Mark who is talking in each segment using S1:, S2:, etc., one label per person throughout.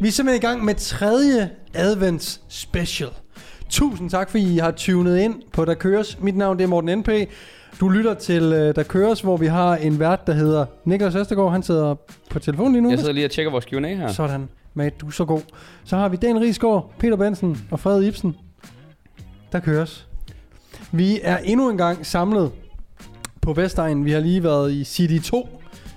S1: Vi er simpelthen i gang med tredje advents special. Tusind tak, fordi I har tunet ind på Der Køres. Mit navn det er Morten NP. Du lytter til øh, Der Køres, hvor vi har en vært, der hedder Niklas Østergaard. Han sidder på telefonen lige nu.
S2: Jeg sidder lige og tjekker vores Q&A her.
S1: Sådan, Matt, du er så god. Så har vi Dan Rigsgaard, Peter Bensen og Fred Ibsen. Der køres. Vi er endnu en gang samlet på Vestegnen. Vi har lige været i City 2,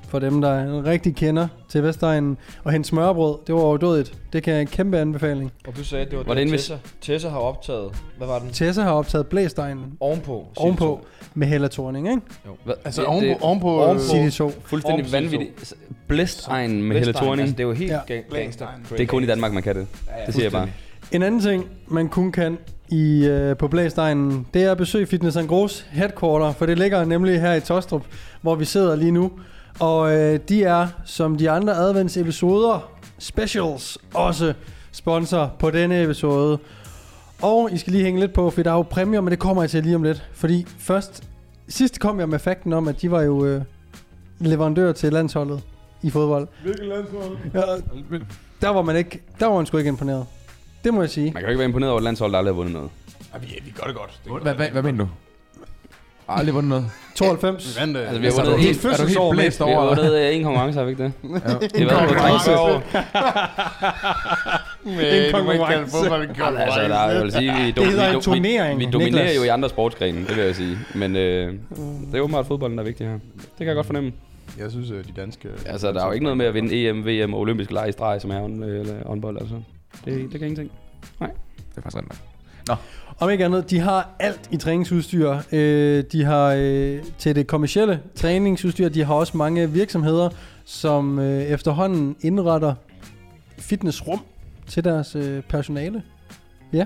S1: for dem, der rigtig kender til Vestegnen. Og hendes smørbrød, det var overdådigt. Det kan jeg en kæmpe anbefaling.
S3: Og du sagde, at det var,
S2: Var
S3: det,
S2: det en
S3: Tessa, Tessa har optaget. Hvad var den?
S1: Tessa har optaget Blæstegnen
S3: Ovenpå. siger
S1: ovenpå
S3: du så.
S1: med Hella Thorning, ikke?
S2: Hvad?
S4: Altså
S2: Det-
S4: ovenpå,
S2: det er
S4: ovenpå,
S3: ovenpå-
S4: øh,
S1: City 2.
S2: Fuldstændig
S3: Ormsens
S2: vanvittigt. Blæst egen med Helle
S3: Vestegn,
S2: Thorning.
S3: Altså, det er jo helt
S1: Ja.
S3: ja. gang, gangster.
S2: Det er kun i Danmark, man kan det. Det siger jeg bare.
S1: En anden ting, man kun kan i, øh, på Blæstegnen, det er at besøge Fitness Gros headquarter, for det ligger nemlig her i Tostrup, hvor vi sidder lige nu. Og øh, de er, som de andre adventsepisoder, specials, også sponsor på denne episode. Og I skal lige hænge lidt på, for der er jo præmier, men det kommer jeg til lige om lidt. Fordi først, sidst kom jeg med fakten om, at de var jo øh, leverandør til landsholdet i fodbold.
S4: Hvilket landshold?
S1: Ja, der var man ikke, der var man sgu ikke imponeret. Det må jeg sige.
S2: Man kan jo ikke være imponeret over et landshold, der aldrig har vundet noget.
S4: Ja, vi, vi gør det godt. Det er
S5: Hvad,
S4: godt.
S5: hvad, hvad mener du? Aldrig vundet noget.
S1: 92.
S4: Vi vandt, øh,
S2: Altså, vi har
S5: Altså, er
S2: vundet
S5: du
S2: en-
S5: helt, er du helt blæst
S2: Vi
S5: over?
S2: har vundet øh, en konkurrence, har vi ikke det?
S5: Ja.
S2: Det har været på
S4: konkurrence.
S2: drenge.
S4: Men du må ikke kalde fodbold en
S2: Jamen, altså, der, er- jeg vil sige, vi,
S1: hedder en
S2: vi,
S1: turnering,
S2: vi, vi dominerer
S1: Niklas.
S2: jo i andre sportsgrene, det vil jeg sige. Men øh, det er åbenbart fodbolden, der er vigtig her. Det kan jeg godt fornemme.
S4: Jeg synes, øh, de danske...
S2: Altså, der er jo ikke noget med at vinde EM, VM og olympiske lege i streg, som er hånd- eller håndbold. Altså. Det, det kan ingenting.
S5: Det er faktisk rigtigt. nok.
S1: Om ikke andet, de har alt i træningsudstyr. Øh, de har øh, til det kommercielle træningsudstyr, de har også mange virksomheder, som øh, efterhånden indretter fitnessrum til deres øh, personale. Ja.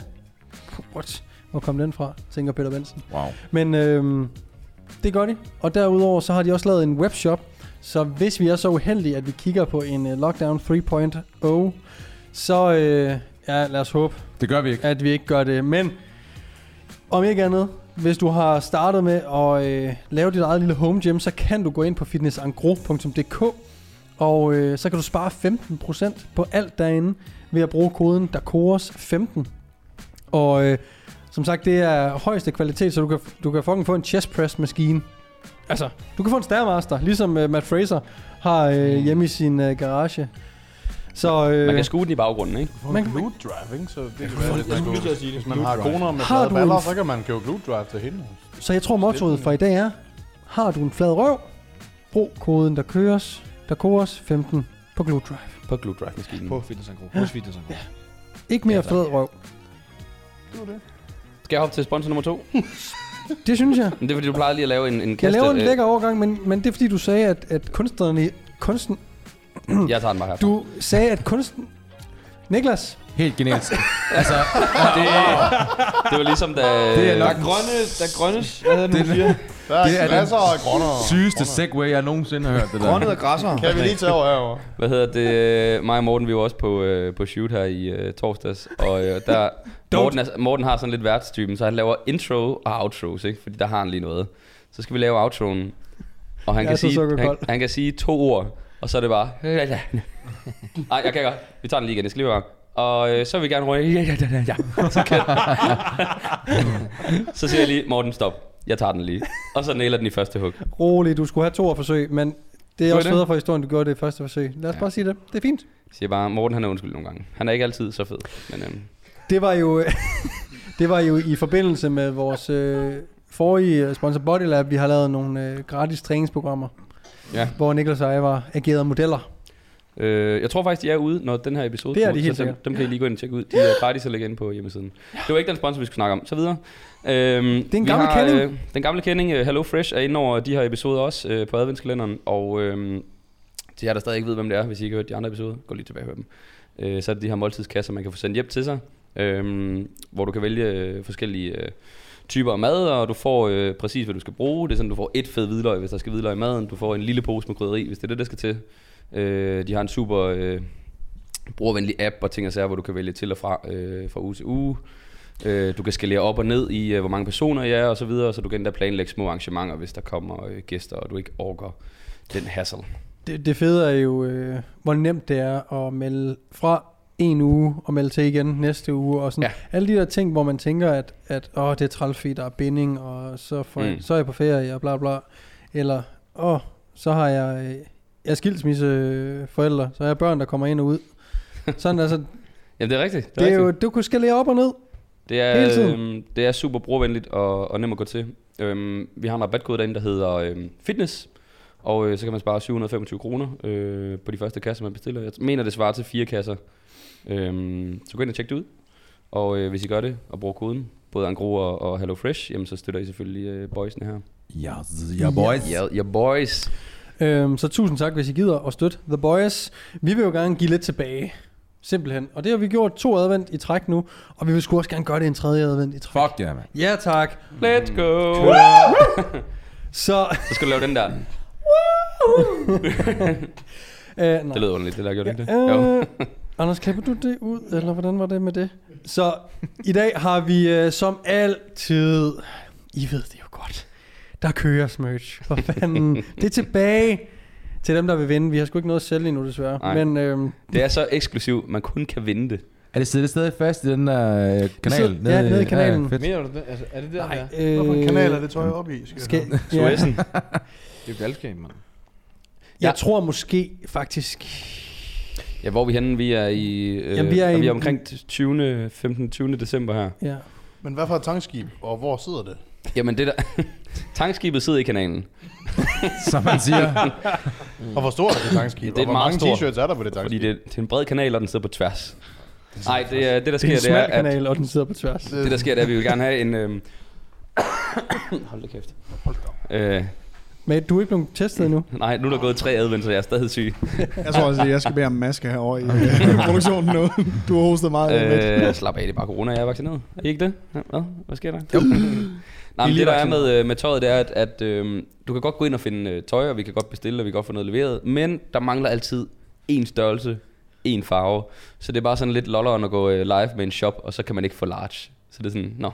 S1: What? Hvor kom den fra, tænker Peter Benson.
S5: Wow.
S1: Men øhm, det gør de. Og derudover så har de også lavet en webshop. Så hvis vi er så uheldige, at vi kigger på en øh, Lockdown 3.0, så øh, ja, lad os håbe,
S5: Det gør vi ikke.
S1: at vi ikke gør det. Men om ikke andet, hvis du har startet med at øh, lave dit eget lille home gym, så kan du gå ind på fitnessangro.dk og øh, så kan du spare 15% på alt derinde ved at bruge koden DAKOROS15. Og øh, som sagt, det er højeste kvalitet, så du kan, du kan fucking få en chest press maskine. Altså, du kan få en Stairmaster, ligesom øh, Matt Fraser har øh, hjemme i sin øh, garage. Så øh,
S2: Mm. Man kan skue den i baggrunden, ikke?
S1: man
S4: Man
S1: kan-
S4: kan glute drive, ikke? Så det kan være, at man
S3: skulle
S4: kan-
S3: til at sige det.
S4: hvis man har koner med
S1: Har
S4: flade
S1: du
S4: baller,
S1: en-
S4: så kan man købe glute drive til hende.
S1: Så jeg tror, mottoet for i dag er, har du en flad røv, brug koden, der køres, der kores 15 på Glue Drive.
S2: På Glue Drive-maskinen.
S3: På fitness and Group. Hos fitness and Group.
S1: Ikke mere ja,
S3: Ja, tak.
S1: flad røv.
S2: Skal jeg hoppe til sponsor nummer to?
S1: Det synes jeg.
S2: Men det er fordi, du plejer lige at lave en, en kaste.
S1: Jeg laver en
S2: øh,
S1: lækker overgang, men, men det er fordi, du sagde, at, at kunstnerne... Kunsten,
S2: Øh, Jeg tager den bare her.
S1: du sagde, at kunsten... Niklas,
S5: Helt genialt. altså,
S2: Det, det var ligesom, da...
S5: Det er nok-
S3: Der er grønne, der er grønnes, hvad hedder det,
S5: Det
S3: nu
S5: er-
S3: siger?
S4: Der er,
S5: Det er den
S4: masser af grønner.
S5: sygeste segway, jeg nogensinde har hørt det der.
S3: Grønne og græsser.
S4: Kan vi lige tage over herovre?
S2: Hvad hedder det? øh, Mig og Morten, vi var også på, øh, på shoot her i øh, torsdags, og øh, der... Morten, er, Morten har sådan lidt værtstypen, så han laver intro og outros, ikke? Fordi der har han lige noget. Så skal vi lave outroen, og han,
S1: Jeg er
S2: kan
S1: så
S2: sige, han,
S1: sukkerkold.
S2: han kan sige to ord, og så er det bare... Ej, jeg kan godt. Vi tager den lige igen, jeg skal lige være. Og øh, så vil vi gerne runde... Ja, ja, ja, ja, ja. Så, kan... så siger jeg lige, Morten, stop. Jeg tager den lige. Og så næler den i første hug.
S1: rolig, du skulle have to år forsøg, men det er
S2: Var
S1: også
S2: det?
S1: federe for historien, du gjorde det i første forsøg. Lad os ja. bare sige det. Det er fint.
S2: Jeg siger bare, Morten han er undskyld nogle gange. Han er ikke altid så fed. Men, øhm,
S1: Det var jo, det var jo i forbindelse med vores øh, forrige sponsor Bodylab, vi har lavet nogle øh, gratis træningsprogrammer,
S2: Ja.
S1: hvor Niklas og jeg var ageret modeller.
S2: øh, jeg tror faktisk, de er ude, når den her episode
S1: Det er
S2: kommer
S1: de
S2: ud,
S1: helt
S2: så dem,
S1: sikkert.
S2: dem kan I lige gå ind og tjekke ud. De er gratis at lægge ind på hjemmesiden. Det var ikke den sponsor, vi skulle snakke om. Så videre. Øhm, det er
S1: en gamle kending.
S2: Øh, den gamle kending, øh, Hello Fresh, er inde over de her episoder også øh, på adventskalenderen. Og øh, til jer, der stadig ikke ved, hvem det er, hvis I ikke har hørt de andre episoder, gå lige tilbage og hør dem. Øh, så er det de her måltidskasser, man kan få sendt hjem til sig, øh, hvor du kan vælge øh, forskellige... Øh, typer af mad, og du får øh, præcis, hvad du skal bruge. Det er sådan, du får et fed hvidløg, hvis der skal hvidløg i maden. Du får en lille pose med krydderi, hvis det er det, der skal til. Øh, de har en super øh, brugervenlig app og ting og sager, hvor du kan vælge til og fra øh, fra uge til uge. Øh, du kan skalere op og ned i, øh, hvor mange personer I er, og så videre, så du kan endda planlægge små arrangementer, hvis der kommer øh, gæster, og du ikke orker den hassle.
S1: Det, det fede er jo, øh, hvor nemt det er at melde fra en uge og melde til igen næste uge. Og sådan.
S2: Ja.
S1: Ja. Alle de der ting, hvor man tænker, at, at åh, det er træls, fordi der er binding, og så, får,
S2: Mm.
S1: mm. så er jeg på ferie, og bla bla. Eller, åh, så har jeg, øh, jeg er skilsmisse øh, forældre, så har jeg børn, der kommer ind og ud. Sådan altså, det
S2: Jamen, det er rigtigt. Det er,
S1: er, det er
S2: rigtigt.
S1: jo, du kunne skalere op og ned.
S2: Det
S1: Hele
S2: er,
S1: tiden.
S2: øhm, det er super brugervenligt og, og nemt at gå til. Øhm, vi har en rabatkode derinde, der hedder øhm, fitness, og øh, så kan man spare 725 kroner øh, på de første kasser, man bestiller. Jeg mener, det svarer til fire kasser. Øhm, så gå ind og tjek det ud, og øh, hvis I gør det og bruger koden, både Angro og, og HelloFresh, jamen, så støtter I selvfølgelig øh, boysene her.
S5: Ja, ja, boys.
S2: Ja, yeah, boys.
S1: Øhm, så tusind tak, hvis I gider at støtte The Boys. Vi vil jo gerne give lidt tilbage. Simpelthen. Og det har vi gjort to advent i træk nu, og vi vil sgu også gerne gøre det en tredje advent i træk.
S5: Fuck ja, mand.
S1: Ja tak.
S2: Let's go.
S1: Så,
S2: Så skal du lave den der.
S1: øh, nej.
S2: Det lyder underligt, det der gjorde det ikke det? Jo.
S1: Øh, Anders, klipper du det ud, eller hvordan var det med det? Så i dag har vi øh, som altid, I ved det jo godt, der kører merch. For fanden, det er tilbage til dem, der vil vinde. Vi har sgu ikke noget at sælge endnu, desværre.
S2: Nej.
S1: Men øhm,
S2: Det er så eksklusivt, man kun kan vinde det.
S5: Er det siddet stadig fast i den der øh, kanal?
S1: sidder- ja, nede i kanalen.
S5: fedt.
S3: Mener du det? Altså, er det der,
S1: nej.
S3: der?
S1: Øh,
S4: Hvilken kanal er det tøj op i? Skal,
S1: Skal,
S4: skal...
S1: ja.
S2: Suessen.
S3: Det er jo galskab, mand.
S1: Jeg
S2: Ja.
S1: tror måske faktisk...
S2: Ja, hvor er vi henne? Vi er i... Øh,
S1: Jamen, vi er i-
S2: vi er omkring 20. 15. 20. december her.
S1: Ja.
S4: Men hvad for et tankskib, og hvor sidder det?
S2: Jamen, det der... Tankskibet sidder i kanalen.
S5: Som man siger.
S4: Og hvor stort er det tankskib?
S2: Mm. Det er
S4: og
S2: et
S4: hvor
S2: meget
S4: mange
S2: stort-
S4: t-shirts er der på det
S2: Fordi
S4: tankskib?
S2: det, det er en bred kanal, og den sidder på tværs. Nej, det, er- det der sker,
S1: Det er en
S2: det er,
S1: smal
S2: at,
S1: kanal, og den sidder på tværs.
S2: det der sker, det er, at vi vil gerne have en... Øh... Hold da kæft. Øh,
S1: Men du er ikke blevet testet endnu.
S2: nej, nu er der gået tre advent, så jeg er stadig syg.
S6: Jeg tror også, at jeg skal bære en maske herovre i øh, produktionen nu. Du har hostet meget. Øh,
S2: Øh, slap af, det er bare corona, jeg er vaccineret. Er I ikke det? Ja, Hvad? Hvad sker der? Jo. Nej, men
S1: lige
S2: det der er
S1: vaccineret.
S2: med, øh, med tøjet, det er, at, at øh, du kan godt gå ind og finde øh, tøj, og vi kan godt bestille, og vi kan godt få noget leveret, men der mangler altid én størrelse, én farve. Så det er bare sådan lidt lolleren at gå øh, live med en shop, og så kan man ikke få large. Så det er sådan, nå,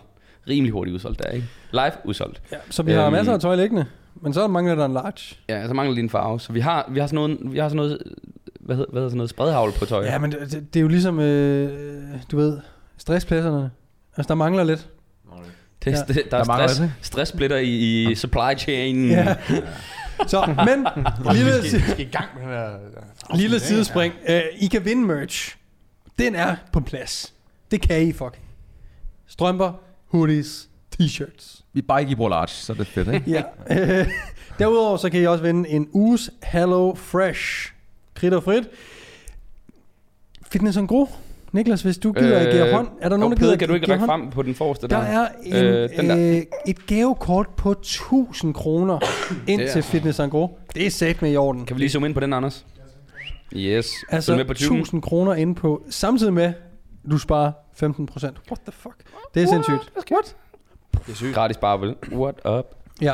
S2: rimelig hurtigt udsolgt der, ikke? Live udsolgt.
S1: Ja, så vi har
S2: Øhm.
S1: masser af tøj liggende, men så mangler der en large.
S2: Ja, så mangler lige en farve. Så vi har, vi har sådan noget, vi har sådan noget hvad hedder, hvad hedder sådan noget, spredhavl på tøj.
S1: Ja, men det, det, det er jo ligesom, øh, du ved, stresspladserne. Altså, der mangler lidt.
S2: det,
S1: ja.
S2: det, der, der er
S5: Der mangler
S2: stress,
S5: det.
S2: stresssplitter i, i supply chain.
S1: Ja. Så, men, lille,
S4: Vi skal i gang med den her...
S1: lille sidespring. Øh, I kan vinde merch. Den er på plads. Det kan I fucking. Strømper, hoodies, t-shirts.
S5: Vi er bare ikke i Bro Large, så er det fedt, ikke?
S1: Ja. Øh, Derudover så kan I også vinde en uges Hello Fresh. Kridt og frit. Fitness en gro. Niklas, hvis du gider øh, at give hånd, er der nogen, der gider
S2: Pede, kan du ikke
S1: give
S2: række
S1: hånd?
S2: frem på den forreste
S1: Der
S2: der?
S1: er en,
S2: Øh, den der.
S1: øh, et gavekort på 1000 kroner ind
S2: Det er-
S1: til Fitness en gro. Det er sat med i orden.
S2: Kan vi lige zoome ind på den, Anders? Yes. Altså,
S1: altså
S2: med på 20.
S1: 1000 kroner ind på, samtidig med, du sparer 15 procent. What the fuck? Det er sindssygt.
S3: Det er sygt.
S2: Gratis bare vel. What up?
S1: Ja.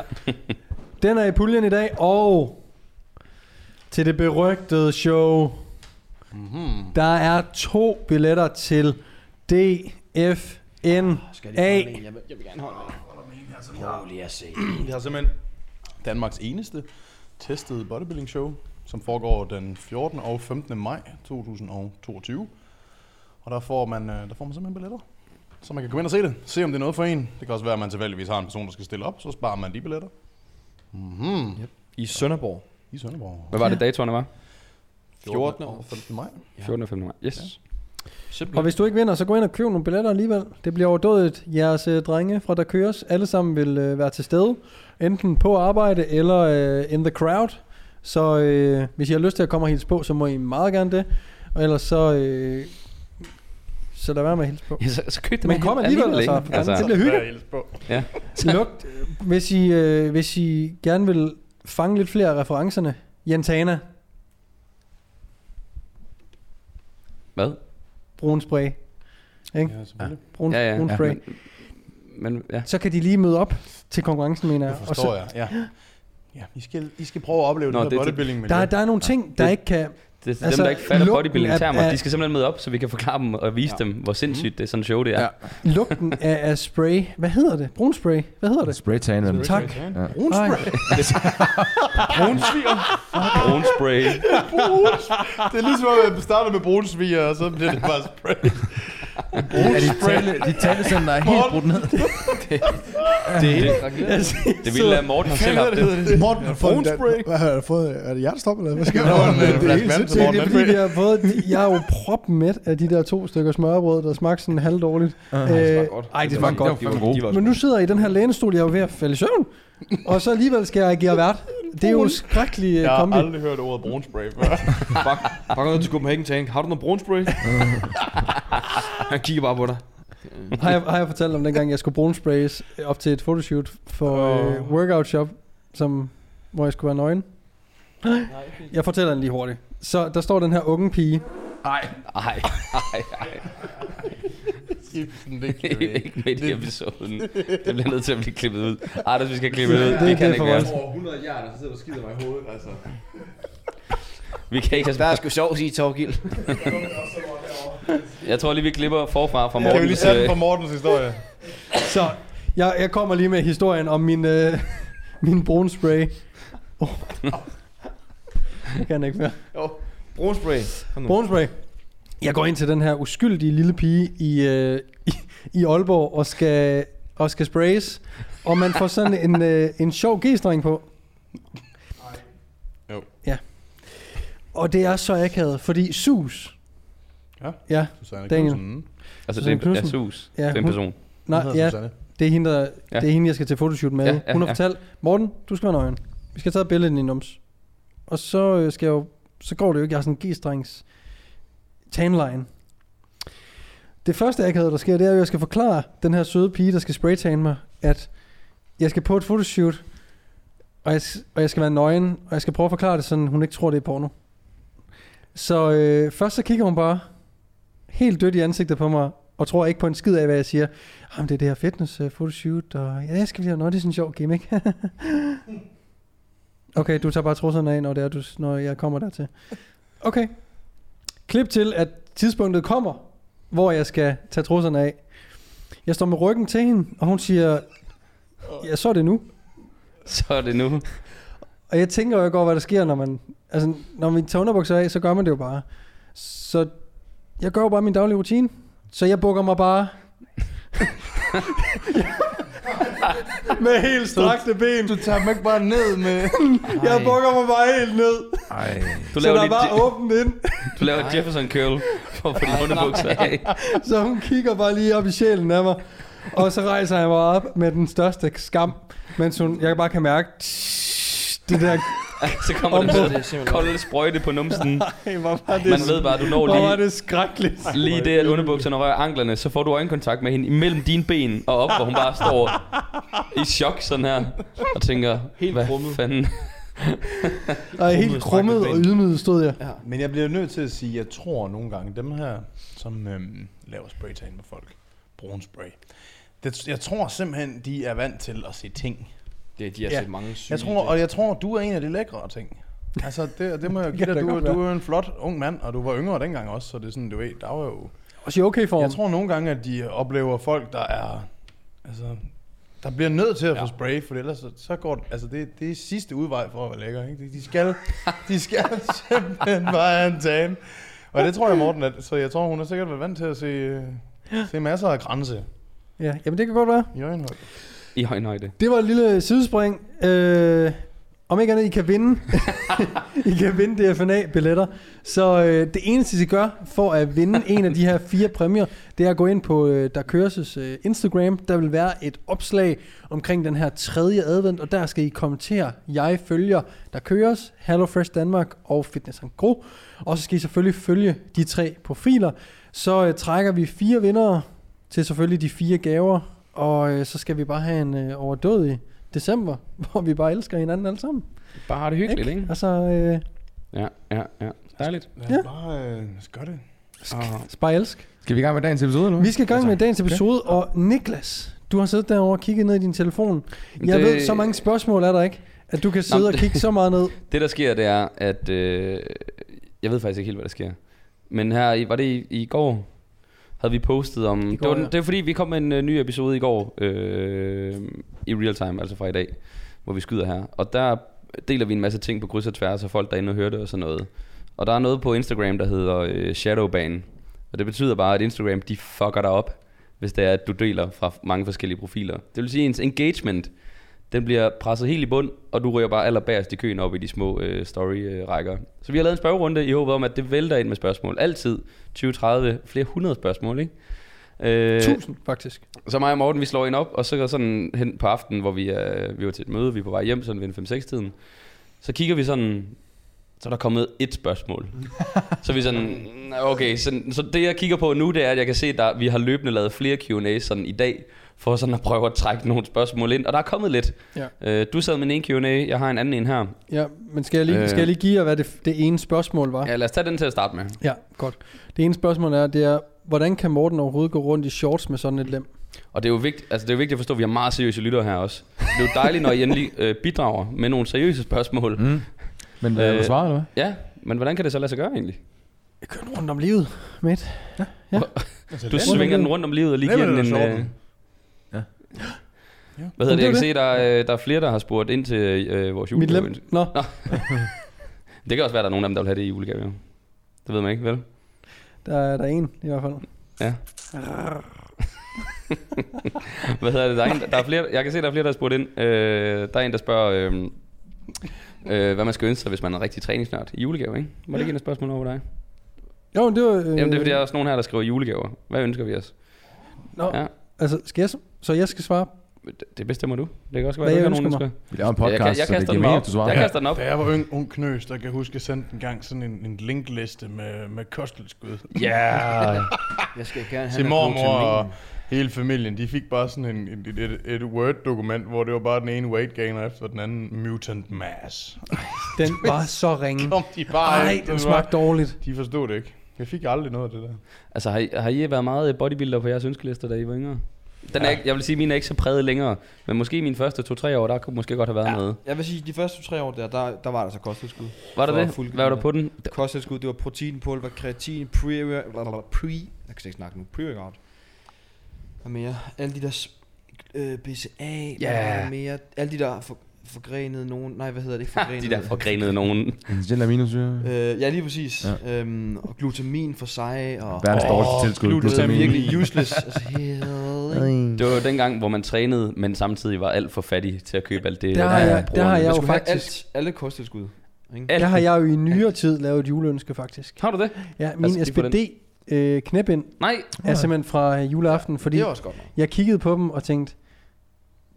S1: Den er i puljen i dag, og til det berygtede show, mm-hmm. der er to billetter til DFN.
S3: Skal
S1: lige holde
S3: jeg, vil, jeg vil gerne holde Prøv lige at se.
S4: Vi har simpelthen Danmarks eneste testede bodybuilding show, som foregår den 14. og 15. maj 2022. Og der får man, øh, der får man simpelthen billetter. Så man kan komme ind og se det. Se om det er noget for en. Det kan også være, at man tilfældigvis har en person, der skal stille op. Så sparer man de billetter. Mhm.
S3: I Sønderborg.
S4: I Sønderborg.
S2: Hvad var det, datoerne var?
S3: 14. og
S4: 15. maj.
S2: 14. og 15. maj. Yes.
S1: Og
S3: Simpelthen.
S1: hvis du ikke vinder, så gå ind og køb nogle billetter alligevel. Det bliver overdådigt. Jeres øh, drenge fra Der Køres, alle sammen vil øh, være til stede. Enten på arbejde eller øh, in the crowd. Så øh, hvis I har lyst til at komme og hilse på, så må I meget gerne det. Og ellers så... Øh, så lad være med at hilse på.
S2: Ja, så, så køb det
S1: Men
S2: med
S1: kom
S2: hen-
S1: alligevel,
S2: ikke?
S1: altså. Fanden, det bliver hyggeligt.
S2: ja.
S1: Lugt, øh, hvis I, øh, hvis I gerne vil fange lidt flere af referencerne. Jantana,
S2: Hvad?
S1: brun spray. Ikke?
S4: Ja, selvfølgelig.
S1: Brun,
S2: Ja, ja,
S1: brun
S2: ja,
S1: spray.
S2: men- Men ja.
S1: Så kan de lige møde op til konkurrencen, mener jeg.
S4: Det
S1: Og så-
S4: forstår jeg, ja. ja. I, skal, I skal prøve at opleve
S2: Nå,
S4: Nå, det
S2: det
S4: her
S2: er til-
S4: bodybuilding miljø.
S1: Der, er- der er nogle ting, der
S2: Det-
S1: ikke kan...
S2: det, altså,
S1: Altså,
S2: dem, der ikke fatter
S1: lugten
S2: bodybuilding
S1: af-
S2: termer,
S1: af- Mhm.
S2: de skal simpelthen møde op, så vi kan forklare dem og vise
S3: Ja.
S2: ja. dem, hvor sindssygt det er sådan et show, det er.
S4: Ja.
S2: Ja.
S1: Lugten af, af spray. Hvad hedder det? Brun spray. Hvad hedder det?
S5: Spray tan. man.
S1: Tak.
S5: Ja.
S4: Brun spray.
S1: Ej,
S2: Brunsviger. Brunspray.
S4: Det er ligesom, at man starter med brunsviger, og så bliver det bare spray.
S5: Er de tale, de talecenter er helt brudt ned.
S2: Det, det, det ville at Morten har selv haft det.
S6: Morten har fået, en dan-
S4: Brunspray.
S6: Hvad har jeg fået? Er det hjertestop, eller hvad skal
S4: Det var en, øh,
S6: jeg
S4: flaske
S6: helt
S4: vand til
S6: sindssygt.
S1: Det er
S4: Morten.
S1: fordi, vi har fået, jeg er jo proppet af de der to stykker smørbrød, der smagte sådan halvdårligt. Øh, Ej, det
S2: godt.
S1: smagte
S5: var-
S1: godt.
S5: det var fandme gode.
S1: Men nu sidder jeg i den her lænestol, jeg er jo ved at falde i søvn. Og så alligevel skal jeg agere vært. Det er jo en skrækkelig øh,
S4: Jeg har
S1: kombi.
S4: aldrig hørt ordet brunspray før.
S3: Bak, bakker ned til Copenhagen Tank. Har du noget brunspray? Han kigger bare på dig.
S1: Har jeg, har jeg fortalt om dengang, jeg skulle brunsprays op til et fotoshoot for
S3: Åh.
S1: øh, workout shop, som, hvor jeg skulle være nøgen? Jeg fortæller den lige hurtigt. Så der står den her unge pige.
S2: Ej, ej, ej. Det er ikke midt i episoden. Det bliver nødt til at blive klippet ud. Anders, vi skal klippe det ud.
S1: Det-
S2: Det,
S1: det
S2: kan
S1: er
S2: ikke
S1: for
S2: være.
S1: godt.
S4: Over 100 hjert, og så sidder du skider mig i hovedet, altså.
S2: Vi kan ikke
S3: Der er
S2: have
S3: sgu sjovt i Torgild.
S2: Jeg tror lige, vi klipper forfra fra
S4: Kan vi
S2: Morten.
S4: lige tage den fra Mortens historie?
S1: Så jeg, jeg kommer lige med historien om min, øh, min brunspray. Oh. Jeg kan ikke mere.
S3: Jo, brunspray. Kom nu.
S1: Brunspray. Mm. Jeg går ind til den her uskyldige lille pige i, øh, i, i Aalborg og skal, og skal sprays. Og man får sådan en, øh, en sjov g-streng på.
S4: Jo.
S1: Ja. Og det er så akavet, fordi sus.
S4: Ja.
S1: Ja.
S4: Susanne
S1: Daniel.
S4: Knudsen.
S2: altså, det er en
S1: Knudsen.
S2: ja, sus.
S1: Ja,
S2: Ja, det er en
S1: hun-
S2: person.
S1: Nej, ja, det er hende, der,
S2: Ja.
S1: det er hende jeg skal til fotoshoot med.
S2: Ja, ja,
S1: Hun har
S2: ja.
S1: fortalt, Morten, du skal være nøgen. Vi skal tage et billede i din nums. Og så øh, skal jeg jo, så går det jo ikke. Jeg har sådan en g-strengs tanline. Det første akavet, der sker, det er jo, at jeg skal forklare den her søde pige, der skal spraytane mig, at jeg skal på et fotoshoot, og jeg, s- og jeg skal være nøgen, og jeg skal prøve at forklare det sådan, hun ikke tror, det er porno. Så øh, først så kigger hun bare helt dødt i ansigtet på mig, og tror ikke på en skid af, hvad jeg siger. Jamen, det er det her fitness øh, photoshoot, og ja, jeg skal lige have noget, det er sådan en sjov gimmick. okay, du tager bare trusserne af, når, det er, du, når jeg kommer dertil. Okay. Klip til, at tidspunktet kommer, hvor jeg skal tage trusserne af. Jeg står med ryggen til hende, og hun siger, ja, så er det nu.
S2: Så er det nu.
S1: Og jeg tænker jo ikke over, hvad der sker, når man... Altså, når man tager underbukser af, så gør man det jo bare. Så jeg gør jo bare min daglige rutine. Så jeg bukker mig bare... med helt strakte ben.
S4: Du tager dem ikke bare ned med...
S1: Jeg bukker mig bare helt ned.
S5: Ej.
S1: Så
S2: Du laver,
S1: der er
S2: lige,
S1: bare
S2: Je-
S1: åbent ind.
S2: du laver et Jefferson curl for at få dine underbukser af.
S1: Så hun kigger bare lige op i sjælen af mig. Og så rejser jeg mig op med den største skam. Mens hun, jeg bare kan mærke... Det der...
S2: Så kommer der
S1: Ombud.
S2: sådan en kold sprøjte på numsen.
S1: Ej, hvor var det,
S2: Man ved bare, du når
S1: hvor var
S2: lige,
S1: det skrækkeligt.
S2: lige det, at underbukserne rører anklerne, så får du øjenkontakt med hende imellem dine ben og op, hvor hun bare står i chok sådan her og tænker, Helt hvad krummet. fanden?
S1: Og helt krummet og ydmyget stod jeg.
S4: Ja. Men jeg bliver nødt til at sige, at jeg tror nogle gange, dem her, som øhm, laver spraytan med folk, brun spray, det, jeg tror simpelthen, de er vant til at se ting.
S3: Det er de har
S4: Ja.
S3: set mange syge.
S4: Jeg tror, og jeg tror, du er en af de lækre ting. Altså, det, det må jeg give dig.
S1: da
S4: Du,
S1: godt
S4: du er jo en flot ung mand, og du var yngre dengang også, så det er sådan, du ved, der var jo...
S1: Også i okay form.
S4: Jeg tror nogle gange, at de oplever folk, der er... Altså, der bliver nødt til at få spray, for ellers så, så går det, altså det, det er sidste udvej for at være lækker. Ikke? De- De skal, de skal simpelthen bare have en tan. Og det tror jeg, Morten, at, så jeg tror, hun er sikkert været vant til at se, øh, se masser af grænse
S1: Ja, jamen det kan godt være.
S4: i øjenhøjde.
S2: I højnhøjde.
S1: Det var et lille sidespring. Øh, om ikke andet, I kan vinde. I kan vinde DFNA-billetter. Så øh, det eneste, I gør for at vinde en af de her fire præmier, det er at gå ind på øh, Der Køres' øh, Instagram. Der vil være et opslag omkring den her tredje advent, og der skal I kommentere, jeg følger Der Køres, HelloFresh Danmark og Fitness Gro. Og så skal I selvfølgelig følge de tre profiler. Så øh, trækker vi fire vindere til selvfølgelig de fire gaver, og øh, så skal vi bare have en øh, overdådig december, hvor vi bare elsker hinanden alle sammen.
S2: Bare har det hyggeligt, ikke?
S1: Altså, øh,
S2: Ja, ja, ja. Dejligt.
S4: Lad os
S1: Ja.
S4: bare øh, lad os gøre det.
S2: Ah.
S1: bare elsk.
S5: Skal vi i gang med dagens episode, eller hvad?
S1: Vi skal i
S2: Altså,
S1: gang med dagens episode, og Niklas, du har siddet derovre og kigget ned i din telefon. Jeg
S2: Det-
S1: ved, så mange spørgsmål er der ikke, at du kan sidde
S2: Nå,
S1: og
S2: det-
S1: kigge så meget ned.
S2: Det der sker, det er, at øh, Jeg ved faktisk ikke helt, hvad der sker. Men her, i- var det i, i går, havde vi postet om...
S1: I
S2: I
S1: går,
S2: går, det, var,
S1: ja.
S2: ja. det var fordi, vi kom med en uh, ny episode i går, øh, i real time, altså fra i dag, hvor vi skyder her. Og der deler vi en masse ting på kryds og tværs, og folk derinde og hører det og sådan noget. Og der er noget på Instagram, der hedder øh, Shadowban. Og det betyder bare, at Instagram, de fucker dig op, hvis det er, at du deler fra mange forskellige profiler. Det vil sige, at ens engagement, den bliver presset helt i bund, og du ryger bare allerbærest i køen op i de små øh, story-rækker. Så vi har lavet en spørgerunde i håbet om, at det vælter ind med spørgsmål. Altid 20, 30, flere hundrede spørgsmål, ikke? Øh,
S1: Tusind, faktisk.
S2: så mig og Morten, vi slår en op, og så går sådan hen på aftenen, hvor vi, øh, vi var til et møde, vi er på vej hjem, sådan ved en 5-6-tiden. Så kigger vi sådan, så er der kommet et spørgsmål. så er vi sådan, okay, så, så det jeg kigger på nu, det er, at jeg kan se, at vi har løbende lavet flere Q&A's sådan i dag, for sådan at prøve at trække nogle spørgsmål ind, og der er kommet lidt.
S1: Ja.
S2: Øh, du sad med en Q&A, jeg har en anden en her.
S1: Ja, men skal jeg lige,
S2: Øh.
S1: skal jeg lige give jer, hvad det, det ene spørgsmål var?
S2: Ja, lad os tage den til at starte med.
S1: Ja, godt. Det ene spørgsmål er, det er, hvordan kan Morten overhovedet gå rundt i shorts med sådan et lem?
S2: Og det er jo vigtigt, altså det er jo vigtigt at forstå, at vi har meget seriøse lyttere her også. Det er jo dejligt, når I endelig øh, bidrager med nogle seriøse spørgsmål.
S5: Mm. Men øh,
S2: Øh,
S5: du svarer, eller hvad?
S2: Ja, men hvordan kan det så lade sig gøre egentlig?
S1: Jeg kører rundt om livet, mate.
S4: Altså,
S2: Du
S4: land-
S2: svinger den rundt om livet og lige giver den
S4: Lemon
S2: en...
S4: eller
S2: Øh...
S4: shorten?
S2: Hvad
S5: Ja.
S2: hedder
S1: Men
S2: det? Jeg kan
S1: det
S2: se, der er, øh, der er flere, der har spurgt ind til øh, vores
S1: Mit
S2: julegave.
S1: lem? Nå,
S2: Det kan også være, at der er nogen af dem, der vil have det i julegave. jo. Det ved man ikke, vel?
S1: der er der er en i hvert fald.
S2: Hvad hedder det? Der er, en, der er flere, jeg kan se, der er flere, der har spurgt ind. Øh, der er en, der spørger, øh, øh, hvad man skal ønske sig, hvis man er rigtig træningsnørd i julegave, ikke? Må det ikke en af spørgsmål over dig?
S1: Jo, men det var... Øh,
S2: Jamen, det er fordi, der er også nogen her, der skriver julegaver. Hvad ønsker vi os?
S1: Nå,
S2: Ja.
S1: altså, skal jeg, så- så jeg skal svare?
S2: Det- Det bestemmer du. Det kan også være,
S1: Hvad
S2: at
S1: jeg
S2: der er nogen, der
S1: ønsker
S2: skal.
S5: Vi laver en
S2: Ja, jeg,
S5: podcast,
S2: kan- jeg
S5: så det
S2: kaster
S5: giver
S2: den
S5: mening,
S2: bare
S5: at du svarer.
S2: op. Jeg kaster den op.
S4: Da jeg var ung, ung knøs, der kan jeg huske, jeg sendte en gang sådan en, en linkliste med, med kosttilskud.
S2: Ja.
S3: Jeg skal gerne
S4: Til mormor og hele familien, de fik bare sådan en, en, et, et Word-dokument, hvor det var bare den ene weight gainer efter den anden mutant mass.
S1: Den var så ringe.
S4: Kom de bare
S1: Ej,
S4: efter,
S1: den
S4: det
S1: smagte dårligt.
S4: var- De forstod det ikke. Jeg fik aldrig noget af det der.
S2: Altså, har I, har I været meget øh, bodybuilder på jeres ønskelister, da I var yngre? Den er, ikke- Jeg vil sige, at mine er ikke så præget længere. Men måske mine første to-tre år, der kunne måske godt have været ja. noget.
S3: Jeg vil sige, de første tre år der, der, der var der så kosttilskud.
S2: Var der
S3: For
S2: det?
S3: fuld
S2: Hvad var der
S3: kilo.
S2: på den?
S3: Kosttilskud, det var proteinpulver, kreatin, pre, pre jeg kan ikke snakke nu, pre-workout. Hvad mere? Alle de der s- øh, BCA, hvad
S2: Ja.
S3: var der mere? Alle de der for, forgrenede nogen, nej hvad hedder det, ikke forgrenede.
S2: Ah, De der forgrenede nogen.
S5: Gel aminosyre.
S3: Øh, ja, lige præcis. Ja. Øhm, og glutamin for sig, og
S5: Verdens
S4: Åh,
S5: dårligste tilskud.
S4: glutamin.
S3: det er
S5: Glutamin.
S3: virkelig useless. altså, hell, ikke?
S2: Det var jo dengang, hvor man trænede, men samtidig var alt for fattig til at købe alt det. øh,
S1: Der har
S2: der
S1: jeg- der har
S2: er brugerne.
S1: jeg
S3: Man
S1: jo
S3: skulle have
S1: faktisk-
S3: alt, alle kosttilskud. Ikke?
S2: Alt.
S1: Der har jeg jo i nyere tid lavet et juleønske, faktisk.
S2: Har du det?
S1: Ja,
S2: Altså,
S1: min
S2: lige på den.
S1: SPD øh, knæbind
S2: Nej.
S1: er simpelthen fra øh, juleaften, fordi
S3: Det er også godt nok.
S1: jeg kiggede på dem og tænkte,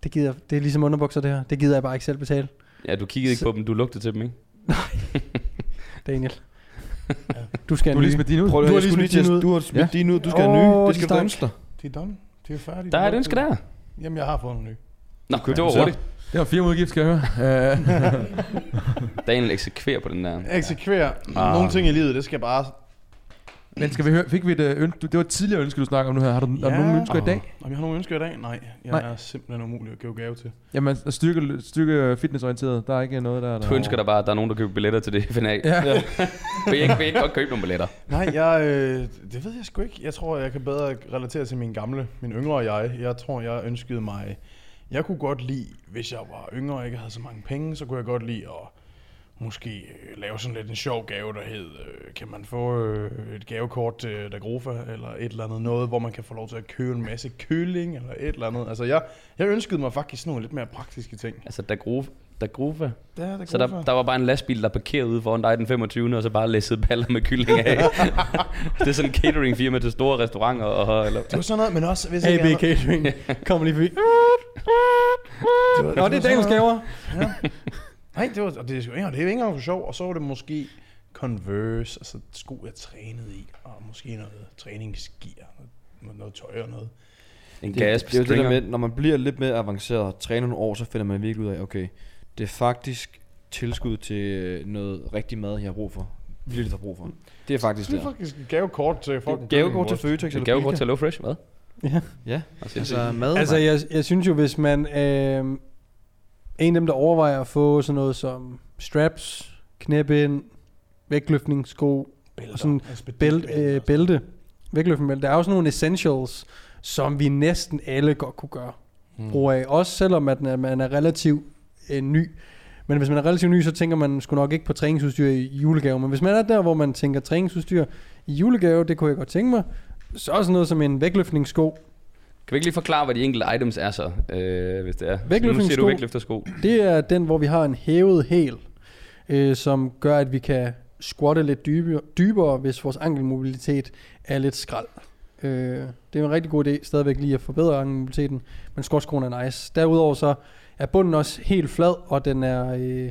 S1: det, gider, jeg- det er ligesom underbukser det her, det gider jeg bare ikke selv betale,
S2: Ja, du kiggede ikke på dem, du lugtede til dem, ikke?
S1: Daniel. Du skal
S5: Du
S1: have
S5: har
S1: en
S5: lige
S1: ny.
S5: smidt din ud.
S3: Prøv lige,
S1: Du har
S3: du har
S1: lige smidt din ud.
S3: Du har smidt din ud, du skal have
S1: Åh,
S3: nye. Det
S1: de
S3: skal du
S1: stank.
S3: ønske dig.
S4: De er done. De er færdige.
S2: Der er et
S4: De
S2: ønske der.
S4: Jamen, jeg har fået en ny.
S2: Nå, det var
S5: så.
S2: hurtigt.
S5: Det var fire udgift, skal jeg høre. Øh,
S2: Daniel eksekverer på den der.
S4: Eksekver. Ah. Nogle ting i livet, det skal bare...
S5: Men skal vi høre, fik vi et øh, ønske? Det var et tidligere ønske, du snakker om nu her. Har du, har du nogen ønsker i dag?
S4: Åh, Om jeg har nogle ønsker i dag? Nej, jeg
S5: Nej.
S4: Nej. er simpelthen umulig at give gave til.
S5: Jamen, at styrke, styrke fitnessorienteret. Der er ikke noget, der er der.
S2: Du ønsker dig bare, at der er nogen, der køber billetter til det FNA. Ja. vil I ikke, vil I ikke godt købe nogle billetter?
S4: Nej, jeg, øh, det ved jeg sgu ikke. Jeg tror, jeg kan bedre relatere til min gamle, min yngre jeg. Jeg tror, jeg ønskede mig... Jeg kunne godt lide, hvis jeg var yngre og ikke havde så mange penge, så kunne jeg godt lide at måske øh, lave sådan lidt en sjov gave, der hed, øh, kan man få øh, et gavekort til Dagrofa, eller et eller andet noget, hvor man kan få lov til at købe en masse køling, eller et eller andet. Altså, jeg, jeg ønskede mig faktisk nogle lidt mere praktiske ting.
S2: Altså, der grove, der grove.
S4: Ja, Dagrofa.
S2: Så der, der var bare en lastbil, der parkerede ude foran dig den 25. og så bare læssede baller med kylling af. det er sådan en cateringfirma til store restauranter. Og, eller,
S4: Det var sådan noget, men også... Hvis ikke
S1: AB
S4: andet-
S1: Catering kommer lige forbi.
S4: var-
S1: Nå, det er
S4: var sådan
S1: dagens
S4: noget.
S1: gaver.
S4: Nej, det var, og det, er sgu ikke- og det er jo ikke engang for sjov. Og så var det måske Converse, altså sko, jeg trænede i, og måske noget træningsgear, noget, noget tøj og noget.
S2: en
S3: Det,
S2: gas
S3: det, det er jo det der med, når man bliver lidt mere avanceret og træner nogle år, så finder man virkelig ud af, okay, det er faktisk tilskud til øh, noget rigtig mad, jeg har brug for. Virkelig lidt har brug for. Det er faktisk
S4: Det er
S3: det.
S4: faktisk et gavekort til fucking
S3: Gavekort til Føtex
S2: Det
S3: eller
S2: gav godt
S3: Bilka.
S2: til LoFresh, hvad?
S3: Ja,
S2: Altså,
S3: altså mad.
S1: Altså,
S3: Altså,
S1: jeg, jeg synes jo, hvis man øh, en af dem, der overvejer at få sådan noget som straps, knæbind, vægtløftningssko,
S4: Bælter. altså,
S1: og sådan bælte, øh,
S3: altså.
S1: bælte, vægtløftningsbælte. Der er jo sådan nogle essentials, som vi næsten alle godt kunne gøre
S3: Mm.
S1: brug af. Også selvom at na- man er relativt øh, ny. Men hvis man er relativt ny, så tænker man sgu nok ikke på træningsudstyr i julegave. Men hvis man er der, hvor man tænker træningsudstyr i julegave, det kunne jeg godt tænke mig, så er sådan noget som en vægtløftningssko.
S2: Kan vi ikke lige forklare, hvad de enkelte items er så, øh, hvis det er? Nu siger
S1: Vægtløftningssko.
S2: du vægtløftersko.
S1: Det er den, hvor vi har en hævet hæl, øh, som gør, at vi kan squatte lidt dybere, dybere hvis vores ankelmobilitet er lidt skrald. Øh, det er jo en rigtig god idé stadigvæk lige at forbedre ankelmobiliteten, men squatskoen er nice. Derudover så er bunden også helt flad, og den er, øh,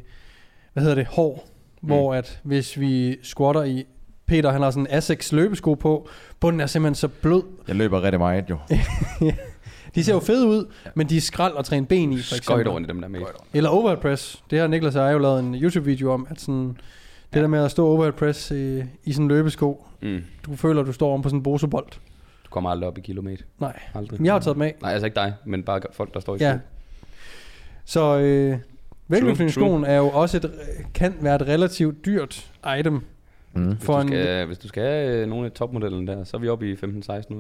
S1: hvad hedder det, hård, mm. hvor at hvis vi squatter i Peter, han har sådan en Asics løbesko på. Bunden er simpelthen så blød.
S7: Jeg løber rigtig meget jo.
S1: De ser jo fede ud, men de er skrald at træne ben i, for
S2: Skøjt
S1: eksempel.
S2: rundt i dem der med.
S1: Eller overhead press. Det har Niklas og jeg jo lavet en YouTube-video om, at sådan, det der med at stå overhead press i, i sådan en løbesko,
S2: Mm.
S1: du føler, at du står om på sådan en bosebold.
S2: Du kommer aldrig op i kilometer.
S1: Nej.
S2: Aldrig.
S1: Men jeg har taget dem af.
S2: Nej, altså ikke dig, men bare folk, der står i
S1: Ja.
S2: sko.
S1: Så øh, vægtløftningsskoen er jo også et, kan være et relativt dyrt item
S7: Mm.
S2: Hvis,
S1: for
S2: du
S1: en
S2: skal, hvis du skal have øh, nogle af topmodellen der, så er vi oppe i 15-1600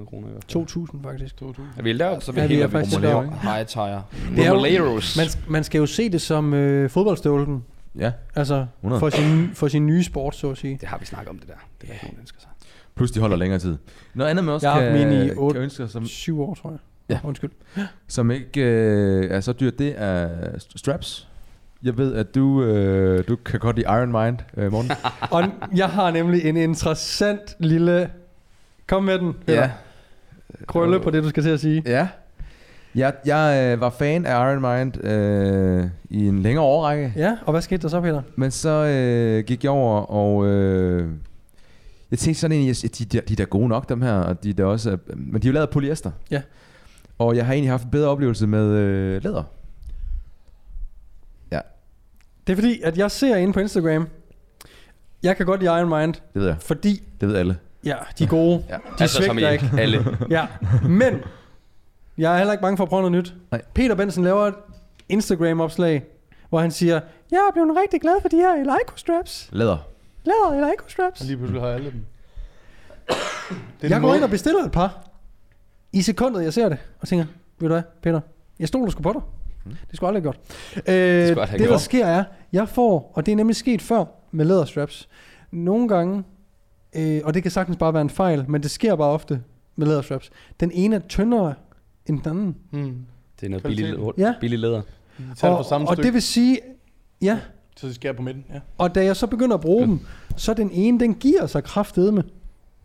S2: kroner i hvert fald.
S1: 2.000 faktisk.
S2: Er vi helt deroppe?
S3: Så
S1: Ja,
S3: er
S1: vi
S3: helt
S1: er
S3: oppe i
S1: faktisk
S3: Romuleo,
S1: deroppe.
S3: ikke? High tire.
S1: Det er jo-
S2: Romoleros.
S1: Man, man skal jo se det som øh, fodboldstøvlen.
S7: Ja.
S1: Altså
S7: 100.
S1: for sin, for sin nye sport, så at sige.
S2: Det har vi snakket om det der. Det er yeah. nogen ønsker sig.
S7: Plus de holder længere tid.
S5: Noget andet, man også
S1: Jeg har
S5: kan,
S1: haft min i otte-
S5: kan ønske sig, som,
S1: Syv år, tror jeg.
S7: Ja.
S1: Undskyld.
S7: Som ikke øh, er så dyrt, det er st- straps. Jeg ved, at du, øh, du kan godt lide Iron Mind, øh, Morten.
S1: Og jeg har nemlig en interessant lille... Kom med den. Peter. Krølle på det, du skal til at sige.
S7: Ja. Jeg, jeg øh, var fan af Iron Mind øh, i en længere årrække.
S1: Ja, og hvad skete der så, Peter?
S7: Men så øh, gik jeg over, og øh, jeg tænkte sådan egentlig, at de, der, de er da gode nok, dem her, og de er da også, er- men de er jo lavet af polyester.
S1: Ja.
S7: Og jeg har egentlig haft en bedre oplevelse med øh, læder.
S1: Det er fordi, at jeg ser inde på Instagram, jeg kan godt lide Iron Mind,
S7: Det ved jeg.
S1: fordi,
S7: Det ved alle.
S1: ja, de er gode.
S7: Ja.
S1: De altså, svigter ikke.
S2: alle.
S1: Ja, men jeg er heller ikke bange for at prøve noget nyt.
S7: Nej.
S1: Peter Benson laver et Instagram-opslag, hvor han siger, jeg er blevet rigtig glad for de her Eleiko straps.
S7: Læder.
S1: Lader Eleiko straps.
S4: Lige pludselig har jeg alle dem. Det
S1: Jeg går ind og bestiller et par. I sekundet, jeg ser det, og tænker, ved du hvad, Peter, jeg stoler sgu på dig.
S4: Mhm.
S1: Det skulle aldrig have gjort. Øh,
S2: aldrig
S1: det,
S2: have
S1: det,
S2: gjort.
S1: der sker er, jeg får, og det er nemlig sket før med læderstraps, nogle gange, øh, og det kan sagtens bare være en fejl, men det sker bare ofte med læderstraps, den ene er tyndere end den anden.
S4: Mm.
S2: Det er noget
S4: Kvaliteten.
S2: billig,
S1: Ja.
S2: billig læder.
S4: De tager det
S1: Og,
S4: fra samme
S1: og
S4: stykke,
S1: det vil sige, ja,
S4: så de skærer på midten. Ja.
S1: og da jeg så begynder at bruge dem, så den ene, den giver sig kraftedeme.